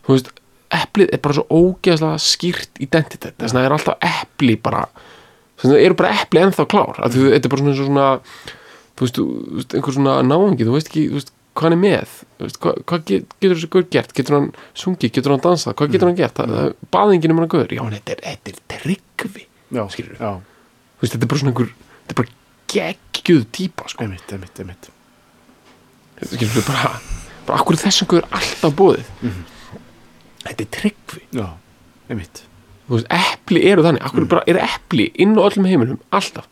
Speaker 1: þú veist, eplið er bara svo ógeðslega skýrt identitet þess vegna er alltaf epli bara þess vegna eru bara epli ennþá klár af því þetta er bara svona, eins og svona þú veist, þú þú veist, einhver svona náungi þú veist ekki, þú veist, hvað hann er með þú veist, hvað, hvað get, getur þessi gaur gert getur hann sungið, getur hann dansað, hvað getur hann gert það, það, baðingin um hann gaur, já, en þetta er, þetta er tryggvi,
Speaker 3: já,
Speaker 1: skilurðu.
Speaker 3: já,
Speaker 1: þú veist, þetta er bara svona einhver þetta er bara geggjuð típa, sko
Speaker 3: emitt, emitt, emitt
Speaker 1: skilur við bara bara akkur þessum guður alltaf bóðið þetta er tryggvi
Speaker 3: já, emitt
Speaker 1: þú veist, epli eru þannig, akkur bara eru epli inn á öllum heimilum, alltaf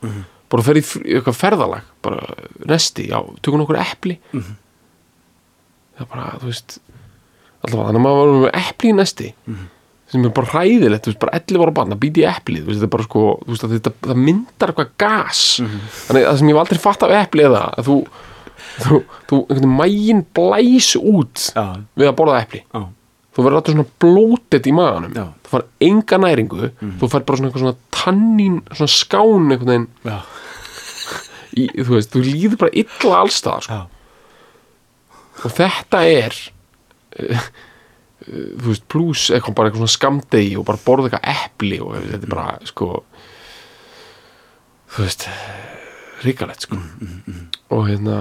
Speaker 1: bara ferð í fr- í eitthvað ferðalag bara resti, já, tökum okkur epli það er bara, þú veist alltaf að þannig að maður var með epli í nesti sem er bara hræðilegt, þú veist, bara 11 ára barn að býti í eplið, þú veist, þetta er bara sko þú veist, að þetta, það myndar eitthvað gas þannig að það sem ég hef aldrei fatt af eplið er það að þú, þú, þú einhvern veginn mægin blæs út
Speaker 2: já,
Speaker 1: við að borða epli
Speaker 2: já,
Speaker 1: þú verður alltaf svona blótið í maðanum
Speaker 2: Já.
Speaker 1: þú fær enga næringu þú fær bara svona eitthvað svona tannín svona skán einhvern veginn
Speaker 2: já,
Speaker 1: í, þú veist, þú líður bara illa allstað sko.
Speaker 2: já.
Speaker 1: og þetta er eh, eh, þú veist, pluss eitthvað bara eitthvað svona skamdegi og bara borða eitthvað epli og þetta er bara, sko þú veist ríkalegt, sko og hérna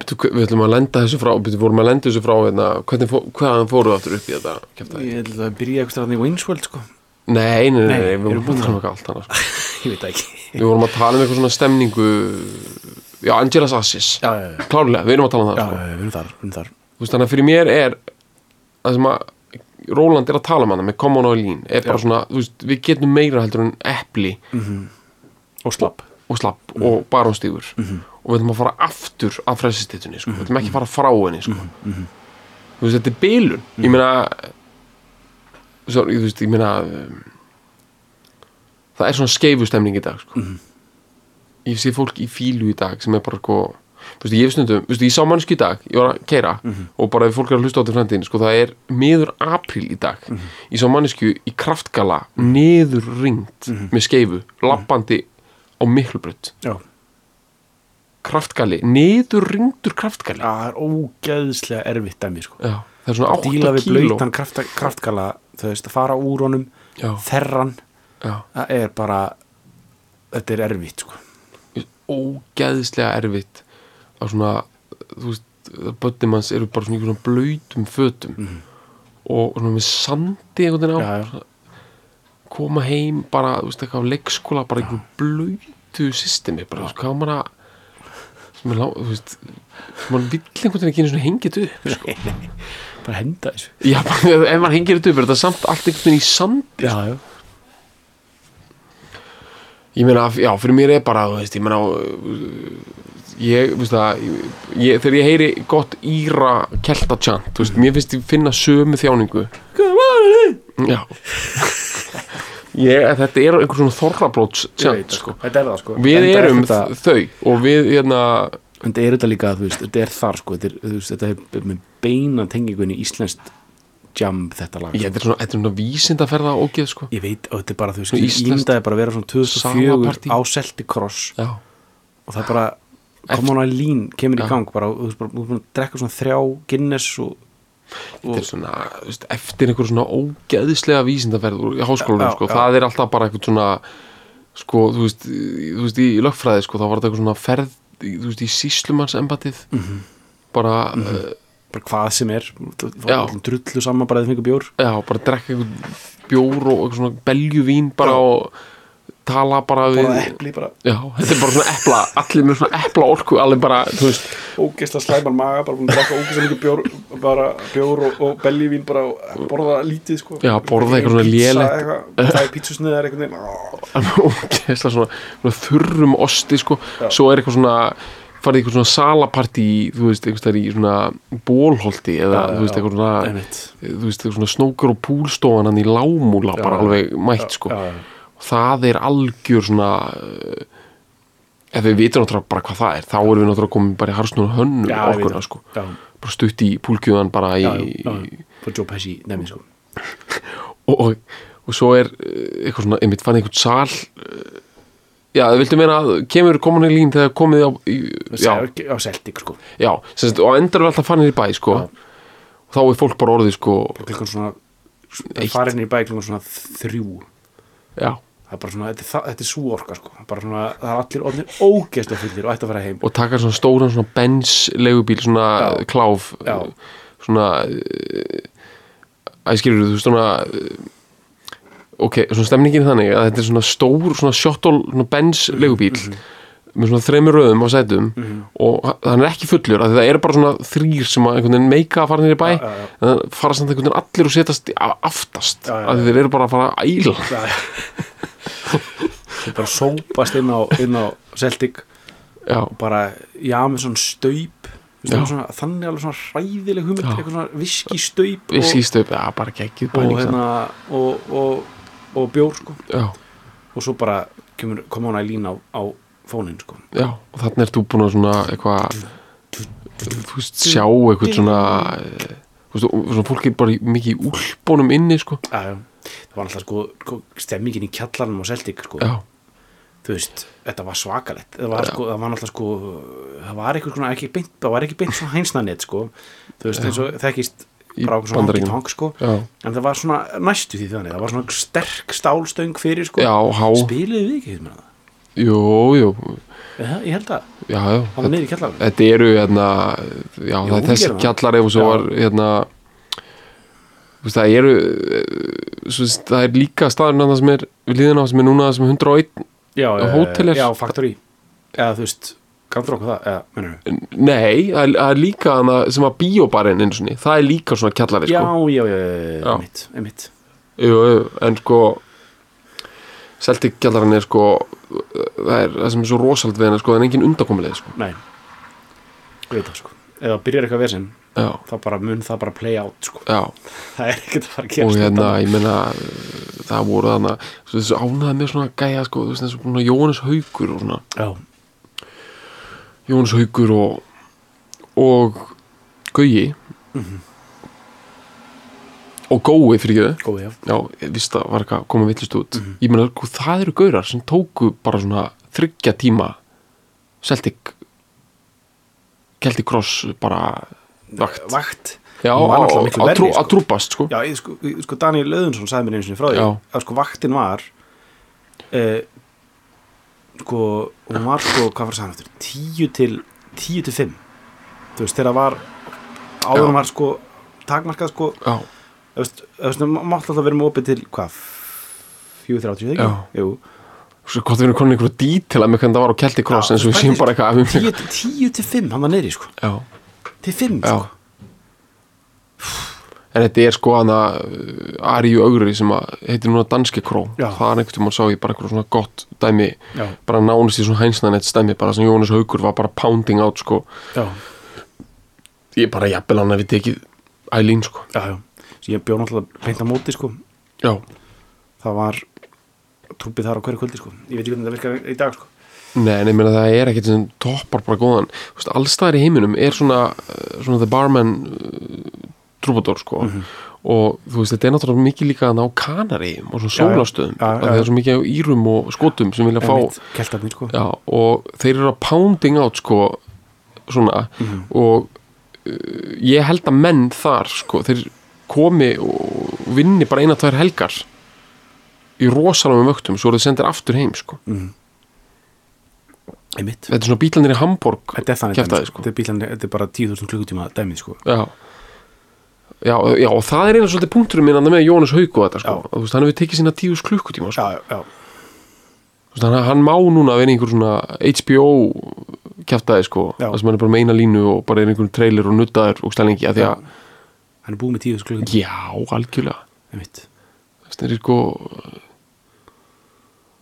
Speaker 1: betur, við ætlum að lenda þessu frá betur, vorum að lenda þessu frá hérna, hvernig, fó- hvaðan fóruðu aftur upp í þetta kjaftaði?
Speaker 2: Ég held að byrja eitthvað þarna í Winsworld sko
Speaker 1: Nei, nei, nei,
Speaker 2: Nei,
Speaker 1: nei, við
Speaker 2: erum
Speaker 1: vorum
Speaker 2: búin
Speaker 1: að
Speaker 2: að-
Speaker 1: tala um eitthvað allt annars
Speaker 2: Ég veit það ekki
Speaker 1: Við vorum að tala um eitthvað svona stemningu Já, Angelas Assis
Speaker 2: Já, já, já,
Speaker 1: Klárlega, við erum að tala um það
Speaker 2: já,
Speaker 1: sko.
Speaker 2: já, við erum þar, við erum þar
Speaker 1: Þú veist, Þannig að fyrir mér er Það sem að Róland er að tala um hana með Common og Lean Er bara svona, þú veist, við getum meira heldur en epli
Speaker 2: Mm. Og slapp
Speaker 1: og slapp
Speaker 2: Mm.
Speaker 1: og baronstígur
Speaker 2: Mhm.
Speaker 1: Og við ætlum að fara aftur af frelsistittunni sko. Við ætlum ekki að fara frá henni
Speaker 2: Mhm,
Speaker 1: sko. Þú veist, þetta er bilun
Speaker 2: Mm.
Speaker 1: Ég meina sorry, Þú veist, ég meina um, Það er svona skeifu stemning í dag sko.
Speaker 2: Mhm.
Speaker 1: Ég sé fólk í fílu í dag sem er bara sko Þú veist, ég hef stundum, þú veist, ég sá mannsku í dag ég var að keira
Speaker 2: Mhm.
Speaker 1: og bara ef fólk er að hlusta á þetta frændin, sko, það er miður apríl í dag,
Speaker 2: Mhm.
Speaker 1: ég sá mannsku í kraftgala niður ringt
Speaker 2: Mhm.
Speaker 1: með skeifu, lappandi á miklubrödd,
Speaker 2: Já,
Speaker 1: kraftgali niður ringdur kraftgali
Speaker 2: það er ógeðslega erfitt dæmi sko
Speaker 1: Já, það er svona 8 kíló
Speaker 2: Díla við blöytan krafta, kraftgala Þú veist, að fara úr honum
Speaker 1: Já,
Speaker 2: Þerran,
Speaker 1: já
Speaker 2: það er bara Þetta er erfitt sko
Speaker 1: ógeðslega erfitt að svona, þú veist bönnum hans eru bara svona í svona blöytum fötum og svona með sandi einhvern veginn á
Speaker 2: Mhm. Já, já.
Speaker 1: svona koma heim bara, þú veist, eitthvað á leikskóla bara einhvern blöytu systemi bara, þú veist, hvað á maður að sem er lá- þú veist, sem maður vill einhvern veginn ekki einu svona hengið upp sko.
Speaker 2: Bara henda þessu
Speaker 1: já, bara, ef maður hengir þetta upp er þetta samt allt einhvern veginn í sandi
Speaker 2: Já, já,
Speaker 1: ég meina, já, fyrir mér er bara þú veist, ég meina uh, ég, veist það ég, þegar ég heyri gott íra keltatjant, þú veist, mér finnst ég finna sömu þjáningu já ég, þetta er einhver svona þorrablóts
Speaker 2: ég
Speaker 1: tjant,
Speaker 2: veit það,
Speaker 1: sko
Speaker 2: Þetta er það sko
Speaker 1: við
Speaker 2: Enda er
Speaker 1: erum
Speaker 2: þetta-
Speaker 1: þau og við, hérna,
Speaker 2: En þetta er þetta líka, þú veist, þetta er þar sko, þetta er, þú veist, þetta er með beina tengingunni íslenskt jam þetta lag. sko.
Speaker 1: ég, þetta er svona, þetta er svona vísindaferða ógeð, sko
Speaker 2: Ég veit, og þetta er bara, þú veist,
Speaker 1: Svona
Speaker 2: ég
Speaker 1: íslenskt
Speaker 2: ímyndaði bara að vera svona 2004
Speaker 1: Samapartí.
Speaker 2: á Celtic Cross
Speaker 1: já,
Speaker 2: og það bara, koma hún að lín, kemur
Speaker 1: Já.
Speaker 2: í gang bara, og þú veist, bara, þú veist, bara drekka svona þrjá Guinness og,
Speaker 1: þetta er
Speaker 2: og
Speaker 1: svona, þú veist, eftir einhver svona ógeðislega vísindaferð úr háskólanum,
Speaker 2: Já,
Speaker 1: sko,
Speaker 2: já.
Speaker 1: það er alltaf bara einhvern svona sko, þú veist, í- þú veist í lögfræði, sko, þá var þetta eitthvað svona ferð, í- þú veist, í síslumanns embatið
Speaker 2: Mhm.
Speaker 1: bara, mm
Speaker 2: bara hvað sem er, þú veist,
Speaker 1: Já.
Speaker 2: allir drullu saman bara þegar fengur bjór.
Speaker 1: já, bara drekka einhvern bjór og eitthvað svona beljuvín bara
Speaker 2: Já.
Speaker 1: og tala bara við
Speaker 2: Bara epli, bara
Speaker 1: já, þetta er bara svona epla, allir með svona epla orku, allir bara, þú veist
Speaker 2: ógeðsla slæman maga, bara búin að drekka ógeðsla mikið bjór, bara bjór og, og bellivín bara og borða lítið, sko.
Speaker 1: Já, borða eitthvað svona
Speaker 2: Pizza,
Speaker 1: lélegt.
Speaker 2: eitthvað, Það er pítsusniðar einhvern veginn.
Speaker 1: ógeðslega svona, svona þurrum osti sko,
Speaker 2: Já.
Speaker 1: svo er eitthvað svona farið í eitthvað svona salapartí í, þú veist, einhvers þar í svona bólholti eða,
Speaker 2: Já, já,
Speaker 1: þú veist,
Speaker 2: já.
Speaker 1: eitthvað svona
Speaker 2: Einmitt.
Speaker 1: þú veist, eitthvað svona snókur og púlstofan hann í lámúla, bara
Speaker 2: já.
Speaker 1: alveg mætt sko,
Speaker 2: Já, já, já.
Speaker 1: og það er algjör svona eh, ef við vitum náttúrulega bara hvað það er þá erum við náttúrulega komin bara í harsnúna hönnu
Speaker 2: Já, ég veit
Speaker 1: orkuna
Speaker 2: það.
Speaker 1: sko,
Speaker 2: Já,
Speaker 1: bara stutt í púlkjöðan bara í,
Speaker 2: já, já, já. Frá Joe Pesci, nefnir sko.
Speaker 1: og, og, og svo er eh, eitthvað svona, einmitt fann einhvern sal eh, já, það viltu meina að kemur komin í lín þegar komið á í, já,
Speaker 2: Sel- Á Celtic, sko.
Speaker 1: já, sem sagt, og endar við alltaf fannin í bæ, sko og þá er fólk bara orðið, sko
Speaker 2: Klukkan svona, það
Speaker 1: Eitt.
Speaker 2: farin í bæ klukkan svona þrjú.
Speaker 1: já,
Speaker 2: Það er bara svona, þetta er, það- þetta er svo orka, sko. Bara svona, það er allir orðnir ógeðslega fullir og ætti að fara heim.
Speaker 1: og taka svona stóran svona Benz legubíl, svona
Speaker 2: Já.
Speaker 1: kláf
Speaker 2: Já.
Speaker 1: svona eh, æ, skilur þú, veist, svona eh, ok, svona stemningin er þannig að þetta er svona stór, svona shuttle svona Benz
Speaker 2: Mhm,
Speaker 1: legubíl með svona þreymur röðum á sætum og ha- hann er ekki fullur, af því það eru bara svona þrýr sem að einhvern veginn meika að fara nýri bæ
Speaker 2: Já, já, já.
Speaker 1: en það fara samt einhvern veginn allir og setjast í- a- aftast,
Speaker 2: Já, já,
Speaker 1: af því þeir eru bara að fara að æla
Speaker 2: Það er Þeir bara sópast inn á, inn á Celtic
Speaker 1: já,
Speaker 2: og bara, já, með svona staup Vist,
Speaker 1: Já.
Speaker 2: svona, þannig alveg svona hræðileg hugmynd
Speaker 1: Já.
Speaker 2: eitthvað svona viskistaup
Speaker 1: við síðstöp, já, bara geggið
Speaker 2: og, og,
Speaker 1: bæning
Speaker 2: hérna, og, og, og bjór sko.
Speaker 1: samt. já,
Speaker 2: og svo bara kemur, kom hann að lína á, á fónin sko.
Speaker 1: já, og þannig er þú búin að svona eitthvað þú veist, sjá eitthvað svona eh, þú veist, og svona fólk er bara í- mikið í úlpunum inni, sko
Speaker 2: Já, já. það var alltaf sko, sko stemmingin í kjallarnum á Celtic sko.
Speaker 1: já,
Speaker 2: þú veist, þetta var svakalett það var, sko, það var náttúrulega sko það var eitthvað svona ekki beint, það var ekki beint svona hænsnanett sko, þú veist, eins og þekkist
Speaker 1: Í
Speaker 2: bara okkur svona honky
Speaker 1: Bandaríkjunum.
Speaker 2: tonk sko
Speaker 1: já,
Speaker 2: en það var svona næstu því þannig, það var svona sterk stálstöng fyrir sko,
Speaker 1: já, há
Speaker 2: spiluðu við ekki hérna
Speaker 1: jú, jú,
Speaker 2: það ég held að,
Speaker 1: já, já
Speaker 2: það var niður í kjallarinn
Speaker 1: þetta eru hérna, já,
Speaker 2: Jú,
Speaker 1: það er þessi
Speaker 2: gerum það.
Speaker 1: kjallar ef og svo
Speaker 2: Já.
Speaker 1: var hérna þú veist, það eru eh, svo, veist, það er líka staðurinn að það sem er við líðan á sem er núna sem er 101
Speaker 2: já, já,
Speaker 1: hótel er-
Speaker 2: já, factory eða þú veist, kanntur okkur það eða, mennur við,
Speaker 1: nei, það er, það er líka hana, sem að bíóbarinn einu sinni, það er líka svona kjallari
Speaker 2: já,
Speaker 1: sko.
Speaker 2: já, já, já, já,
Speaker 1: Já.
Speaker 2: einmitt, einmitt
Speaker 1: jú, jú, en sko Celtic kjallarinn er sko það er það sem er svo rosald við hennar sko, það er engin undakomuleg sko.
Speaker 2: nei, ég veit það sko eða byrjar eitthvað vesinn,
Speaker 1: já,
Speaker 2: þá bara mun það bara play out sko
Speaker 1: já
Speaker 2: það er ekkert að fara
Speaker 1: og
Speaker 2: að gerast
Speaker 1: hérna, ég meina uh, það voru þarna, svo þessu ánaði með svona gæja, sko, þú veist, þessu svona Jóhannes Haukur og svona,
Speaker 2: já,
Speaker 1: Jóhannes Haukur og og Gauji og Gói fyrir ekki
Speaker 2: góð já
Speaker 1: já, ég vissi það var eitthvað að koma villist út ég meina, sko, það eru gaurar sem tóku bara svona þryggja tíma Celtic Celtic Cross bara vakt,
Speaker 2: vakt
Speaker 1: já,
Speaker 2: hún
Speaker 1: á-
Speaker 2: var náttúrulega miklu
Speaker 1: að trú-
Speaker 2: verri, sko.
Speaker 1: að trúpast, sko
Speaker 2: já, ég, sko, ég- sko Daniel Löðunsson sagði mér einu sinni frá því
Speaker 1: Já.
Speaker 2: að sko vaktin var eh, sko hún var sko, hvað var það hann aftur 10 til, 10 til 5 þú veist, þegar var
Speaker 1: Já.
Speaker 2: áður hún var sko takmarkað sko
Speaker 1: já,
Speaker 2: þú veist, þú veist, mátt alltaf vera með opið til hvað, 4.30
Speaker 1: Já.
Speaker 2: eða ekki? Jú.
Speaker 1: Svo gott við erum konin einhverju dítila með hvernig það var á Celtic Cross
Speaker 2: Já,
Speaker 1: eins og við séum bara eitthvað
Speaker 2: 10,
Speaker 1: um-
Speaker 2: 10 til 5, hann var neyri sko
Speaker 1: Já,
Speaker 2: til 5
Speaker 1: já
Speaker 2: sko
Speaker 1: En þetta er sko hana uh, Ariu Ögri sem að heitir núna Danske Kró
Speaker 2: Já.
Speaker 1: Það er einhvern tímann sá ég bara einhverju svona gott dæmi
Speaker 2: Já.
Speaker 1: bara nánast í svona hænsnanett stæmi bara sem Jónas Haukur var bara pounding out sko
Speaker 2: já,
Speaker 1: Ég bara jafnvel hann að við tekið Eileen sko
Speaker 2: já, já. Svo ég bjóð náttúrulega beint á móti sko
Speaker 1: Já,
Speaker 2: það var trúpið þar á hverju kvöldi sko. ég veit ekki hvernig það virkar í dag sko.
Speaker 1: nei, nei, meina það er ekkert sem toppar bara góðan Þú veist, Allstæðar í heiminum er svona, uh, svona the barman uh, trúbador sko
Speaker 2: Mhm.
Speaker 1: og þú veist, þetta er náttúrulega mikið líka þarna á Kanaríum og svona
Speaker 2: Já, já.
Speaker 1: sólastöðum
Speaker 2: Já, já,
Speaker 1: að það
Speaker 2: já.
Speaker 1: er svo mikið á Írum og Skotum sem vilja fá
Speaker 2: keltarnir sko.
Speaker 1: já, og þeir eru að pounding out sko svona
Speaker 2: Mhm.
Speaker 1: og uh, ég held að menn þar sko, þeir komi og vinni bara eina tvær helgar í rosalagum vöktum svo eru þeir sendir aftur heim sko
Speaker 2: Mhm. einmitt
Speaker 1: þetta er svona bílanir í Hamburg
Speaker 2: þetta er þannig
Speaker 1: Kjaftaði,
Speaker 2: dæmi,
Speaker 1: sko.
Speaker 2: sko. þetta, er bílarnir- þetta er bara 10.000 klukkutíma dæmið sko.
Speaker 1: Já Já, já, og það er eina svolítið punkturinn minn þarna með Jónas Hauk og þetta sko.
Speaker 2: Já.
Speaker 1: Þú veist, hann hefur tekið sína tíu klukkutíma sko.
Speaker 2: já, já,
Speaker 1: Þú veist, hann, hann má núna vera í einhver svona HBO kjaftaði sko,
Speaker 2: Já.
Speaker 1: það sem hann er bara með eina línu og bara er einhver trailer og nuttaður og stælingi að því að,
Speaker 2: hann er búið með 10.000 klukkutíma
Speaker 1: já, algjörlega
Speaker 2: einmitt
Speaker 1: það er sko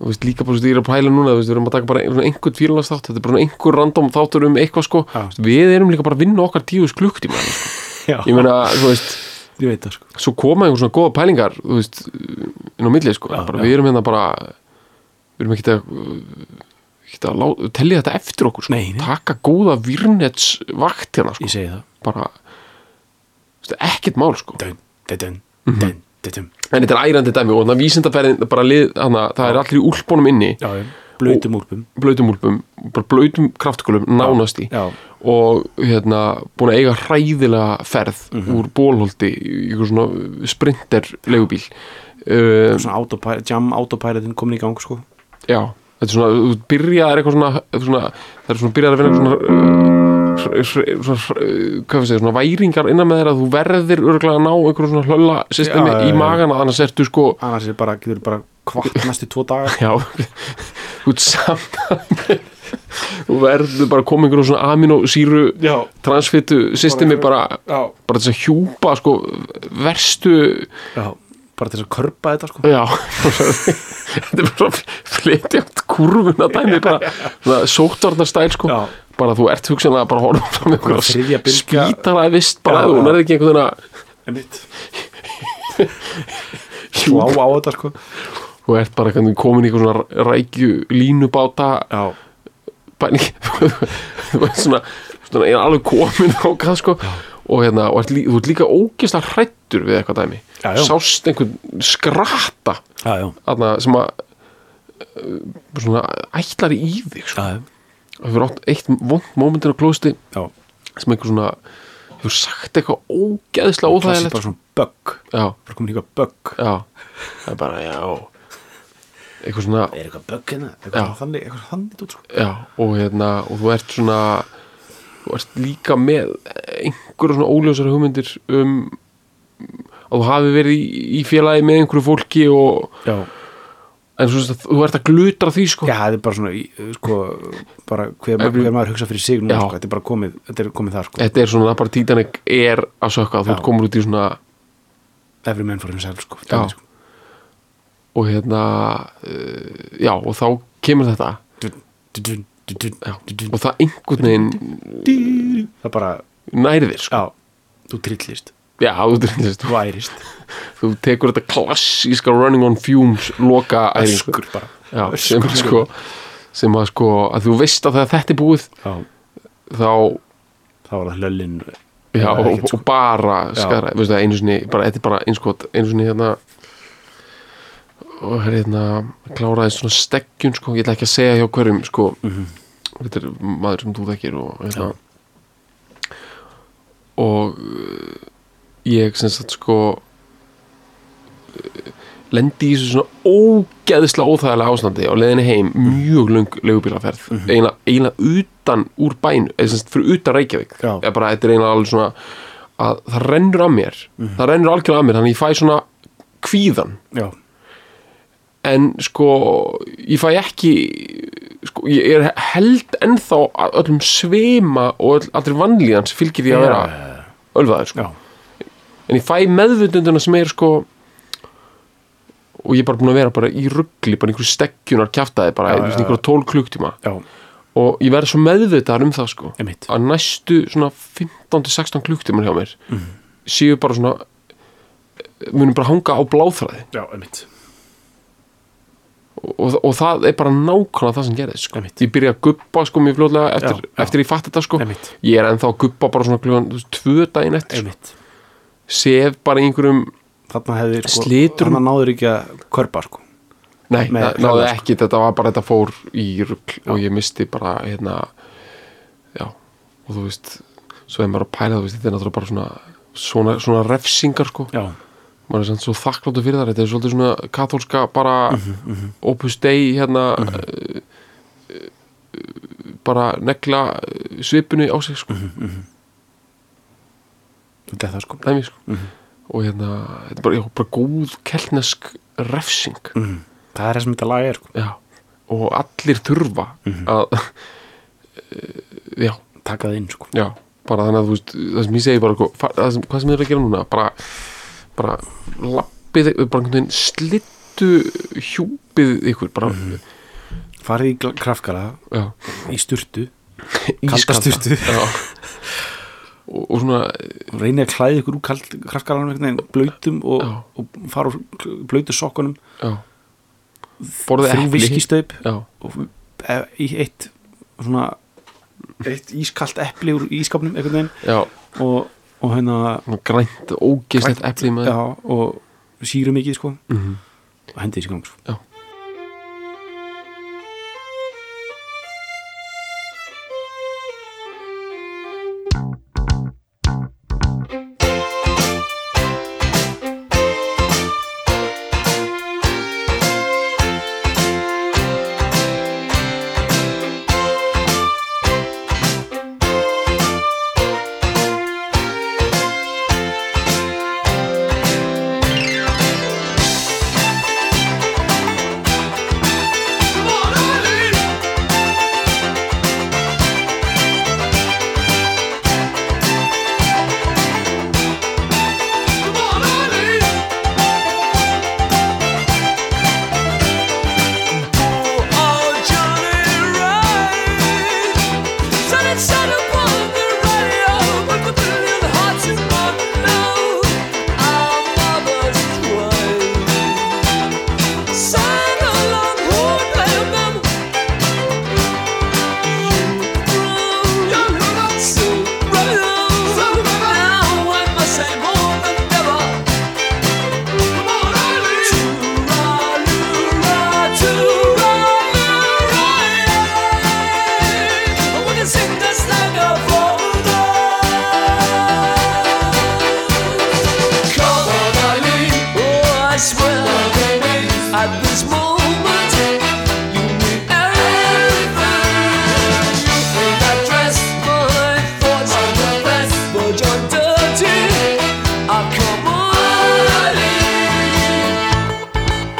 Speaker 1: þú veist, líka bara, þú veist, ég er að pæla núna þú veist, við erum að taka bara svona einhvern fyrirlagsþátt þetta er bara svona einhver random þáttur um eitthvað sko
Speaker 2: Já.
Speaker 1: Þú veist, við erum líka bara að vinna okkar tíu klukkutíma sko.
Speaker 2: já,
Speaker 1: ég meina, þú veist
Speaker 2: ég veit það sko.
Speaker 1: svo koma einhver svona góða pælingar þú veist, inn á milli sko.
Speaker 2: Já,
Speaker 1: bara,
Speaker 2: já.
Speaker 1: við erum hérna bara við erum ekki að ekki að lá- telja þetta eftir okkur sko.
Speaker 2: Nei, nei.
Speaker 1: taka góða virnets vakt hérna sko.
Speaker 2: ég segi það
Speaker 1: bara þú veist, ekkert mál sko.
Speaker 2: dun, dun, dun, dun, dun, dun.
Speaker 1: en þetta er ærandi dæmi og þannig að vísindaferðin bara lið, hana, það er allir í úlpunum inni
Speaker 2: Já, já. blöytum úlpum
Speaker 1: blautum úlpum, bara blautum kraftkulum nánast í
Speaker 2: já,
Speaker 1: og hérna búin að eiga hræðilega ferð
Speaker 2: Mhm.
Speaker 1: úr bólholti í ykkur svona sprinter legubíl um,
Speaker 2: svona autopilot, jam autopilotin komin í gang sko.
Speaker 1: Já, þetta er svona, þú byrjað er eitthvað svona, svona það er svona byrjað að vinna eitthvað svona, uh, svona, svona, svona hvað við segja, svona væringar innan með þeir að þú verðir örgulega að ná einhverjum svona hlölla systemi
Speaker 2: Já, já, já.
Speaker 1: í magan að annars ertu sko
Speaker 2: annars er bara, getur bara kvart næstu tvo daga
Speaker 1: já, þú ert samt þú verður bara að koma einhverjum svona aminosýru
Speaker 2: já,
Speaker 1: transfitu systemi bara,
Speaker 2: já,
Speaker 1: bara þess að hjúpa sko verstu
Speaker 2: já bara til þess að körpa þetta sko.
Speaker 1: já þetta er bara flytjátt kurvuna dæmi bara svona sóttvarnastæl sko
Speaker 2: já,
Speaker 1: bara þú ert hugsanlega bara að horfa fram ykkur
Speaker 2: Bara þriðja bylgja.
Speaker 1: spítalaði vist bara
Speaker 2: Já,
Speaker 1: þú
Speaker 2: já.
Speaker 1: nærði ekki einhvern veginn
Speaker 2: einmitt Lá
Speaker 1: að
Speaker 2: á þetta sko
Speaker 1: þú ert bara einhvern veginn komin í einhvern svona rækju línubáta
Speaker 2: Já,
Speaker 1: bæning þú veist svona, svona ég er alveg komin þákað sko og hérna, og ert lí, þú ert líka ógeðslega hrættur við eitthvað dæmi
Speaker 2: Já, já.
Speaker 1: sást einhvern skratta
Speaker 2: já, já,
Speaker 1: aðna, sem að eh, svona ætlar í þig sko.
Speaker 2: já,
Speaker 1: það fyrir átt eitt vond momentin á klósti
Speaker 2: já.
Speaker 1: sem einhver svona hefur sagt eitthvað ógeðslega
Speaker 2: Klassi bara
Speaker 1: óþægilegt sko.
Speaker 2: svona bögg
Speaker 1: já,
Speaker 2: Bara komin eitthvað bögg
Speaker 1: já, það er bara já eitthvað svona
Speaker 2: Er eitthvað bögg hérna?
Speaker 1: Já.
Speaker 2: Eitthvað þannig, eitthvað þannig út sko
Speaker 1: Já, og hérna, og þú ert svona þú ert líka með einhverju svona óljósara hugmyndir um að þú hafi verið í, í félagi með einhverju fólki og,
Speaker 2: Já,
Speaker 1: en svo sem sagt, þú ert að glutra því sko
Speaker 2: já það er bara svona, í, sko, bara hver,
Speaker 1: Every-
Speaker 2: hver maður hugsa fyrir sig núna
Speaker 1: Já.
Speaker 2: sko Þetta er bara komið, þetta er komið þar sko
Speaker 1: Þetta er svona, bara Titanic er að sökka þú
Speaker 2: Já.
Speaker 1: ert komur út í svona
Speaker 2: Every man for himself sko,
Speaker 1: Já.
Speaker 2: dæmi, sko.
Speaker 1: og hérna uh, já, og þá kemur þetta
Speaker 2: Dun, dun, dun, dun, dun,
Speaker 1: já,
Speaker 2: dun, dun.
Speaker 1: og það einhvern veginn
Speaker 2: Það er bara,
Speaker 1: nærðir sko.
Speaker 2: já, þú trillist
Speaker 1: já, þú, þú,
Speaker 2: Þú ærist,
Speaker 1: þú tekur þetta klassíska running on fumes loka æfingu
Speaker 2: öskur bara
Speaker 1: já, sem,
Speaker 2: Öskur.
Speaker 1: að sko, sem að sko að þú veist að þegar þetta er búið
Speaker 2: Já,
Speaker 1: þá
Speaker 2: þá var það hlöllin
Speaker 1: já,
Speaker 2: Það er
Speaker 1: og,
Speaker 2: ekkert, sko.
Speaker 1: og bara skara, veistu það, einu sinni bara, þetta er bara eins og einu sinni hérna og hérna kláraði svona steggjun sko, ég ætla ekki að segja hjá hverjum sko,
Speaker 2: Mhm.
Speaker 1: þetta er maður sem þú þekkir og hérna og uh, ég sem sagt sko uh, lendi í þessu svona ógeðislega óþægilega ástandi á leiðinni heim
Speaker 2: Mhm.
Speaker 1: mjög lung legubílaferð mm eiginlega, eiginlega utan úr bænu eða sem sagt fyrir utan Reykjavík
Speaker 2: Já.
Speaker 1: Eða bara, þetta er eiginlega alveg svona að það rennur að mér
Speaker 2: Mhm.
Speaker 1: það rennur algjörlega að mér þannig að ég fæ svona kvíðan
Speaker 2: Já,
Speaker 1: en sko ég fæ ekki sko, ég er held ennþá að öllum svima og öll, allri vannlíðan sem fylgir því að vera ölvaður sko.
Speaker 2: já,
Speaker 1: en ég fæ meðvutunduna sem er sko og ég er bara búin að vera bara í ruggli bara einhverju stekkjunar kjaftaði bara
Speaker 2: Já,
Speaker 1: ja,
Speaker 2: já, já.
Speaker 1: einhverju tól klukktíma
Speaker 2: já,
Speaker 1: og ég verð svo meðvitaðar um það sko
Speaker 2: emitt
Speaker 1: að næstu svona 15-16 klukktímar hjá mér
Speaker 2: Mhm.
Speaker 1: séu bara svona munum bara hanga á bláþræði
Speaker 2: Já, emitt
Speaker 1: og, og það er bara nákvæmlega það sem gerðist sko.
Speaker 2: Einmitt.
Speaker 1: ég byrja að guppa sko mjög fljóðlega eftir,
Speaker 2: Já, já.
Speaker 1: eftir ég fatt þetta sko
Speaker 2: Einmitt.
Speaker 1: ég er ennþá að guppa bara svona klugan tvö daginn eftir sko.
Speaker 2: Emitt
Speaker 1: sef bara í einhverjum
Speaker 2: Þarna hefði sko
Speaker 1: Slitur-
Speaker 2: Þarna náður ekki að körpa sko
Speaker 1: nei,
Speaker 2: Nei,
Speaker 1: það náði
Speaker 2: klálega,
Speaker 1: ekki, þetta var bara þetta fór í rugl og ég misti bara hérna já, og þú veist svo er maður að pæla, þú veist, þetta er náttúrulega bara svona svona, svona refsingar sko
Speaker 2: Já,
Speaker 1: maður er samt svo þakkláttu fyrir það þetta er svolítið svona katholska bara opus dei hérna eh, eh, bara negla eh, svipinu á sig sko,
Speaker 2: þetta er það sko
Speaker 1: dæmi sko og hérna, þetta er bara, já, bara góð keltnesk refsing
Speaker 2: mm. Það er það sem þetta lag er sko
Speaker 1: já, og allir þurfa
Speaker 2: Mhm.
Speaker 1: að eh, já,
Speaker 2: Taka það inn sko
Speaker 1: já, bara þannig að þú veist það sem ég segi bara, sko, fa- það sem, hvað sem þið er að gera núna bara, bara lappið, bara einhvern veginn slittu hjúpið ykkur, bara
Speaker 2: Mhm. Farið í gl- krafkala
Speaker 1: já,
Speaker 2: Í sturtu
Speaker 1: ískalda.
Speaker 2: sturtu.
Speaker 1: Já. og, og svona
Speaker 2: Reynið að klæði ykkur úr kald krafkalanum einhvern veginn Blöytum og,
Speaker 1: Já.
Speaker 2: og fara úr kl- blautu sokkunum
Speaker 1: já. borðið
Speaker 2: Þrjú
Speaker 1: epli
Speaker 2: viskistaup
Speaker 1: já,
Speaker 2: Og e- í eitt Svona Eitt ískalt epli úr ískapnum einhvern veginn
Speaker 1: já,
Speaker 2: Og, og hérna
Speaker 1: svona grænt ógeðslegt
Speaker 2: Grænt,
Speaker 1: epli með
Speaker 2: Já, og síru mikið sko
Speaker 1: Mhm.
Speaker 2: Og hendi þessi gang sko
Speaker 1: Já.
Speaker 4: At this moment, you mean everything. You think I dress my thoughts on the best, but you're dirty. I Ah, come on in.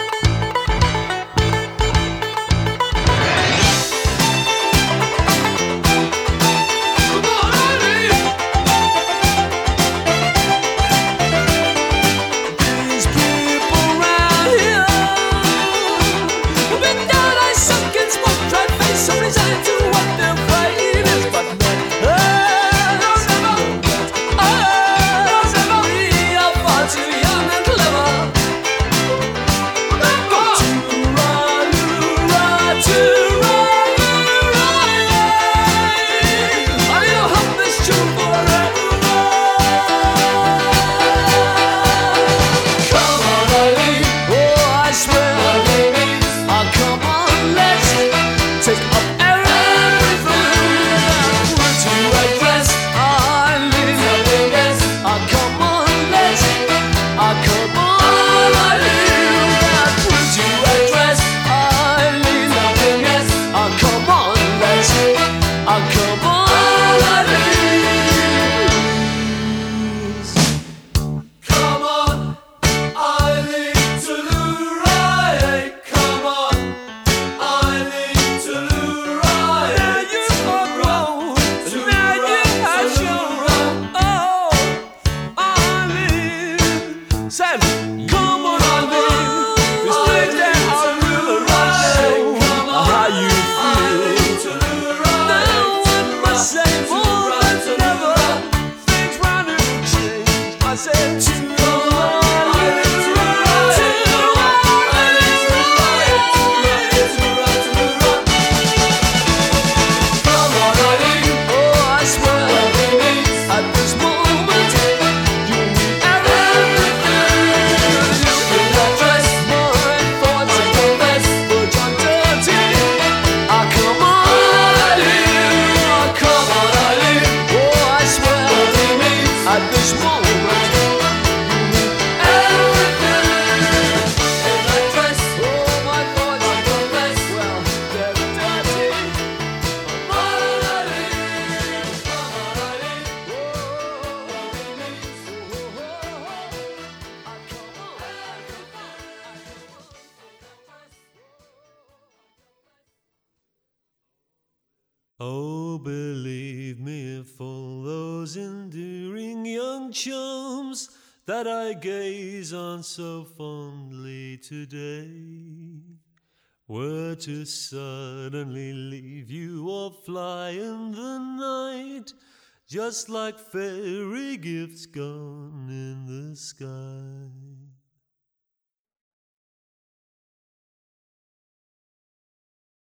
Speaker 4: Come on in. These people round here, with their eyes sunk in smoke, try to face some resigned to what their fate is, but not us. Us, we are far too young and clever to run, run, to run away. I'll hold this tune forever. Come on, Eileen. Oh, I swear, baby. Oh, come on, let's take up everything. We're too reckless. Eileen, Vegas. Oh, come on, let's. Oh, come on, Eileen. We're too reckless. Eileen, Vegas. Oh, come on, let's. Oh, come on, Eileen. Come on. I need to lure Come on, I need to lure Now you are wrong. Now you are sure. Oh, I need. Say, come on, I need. This night that I lure Come on, how you feel. Now I must say more than never. Things round here will change. I said to Oh, Come on, Ali. Come on, Ali. Oh, I swear, baby, at this moment, you mean everything. And I dress, oh, my thoughts are confess. Well, they're dirty. Come on, Ali. Come on, Ali. Oh, baby, oh, oh, oh. I come on,
Speaker 5: Oh, believe me, for those enduring young chums that I gaze on so fondly today were to suddenly leave you or fly in the night, just like fairy gifts gone in the sky.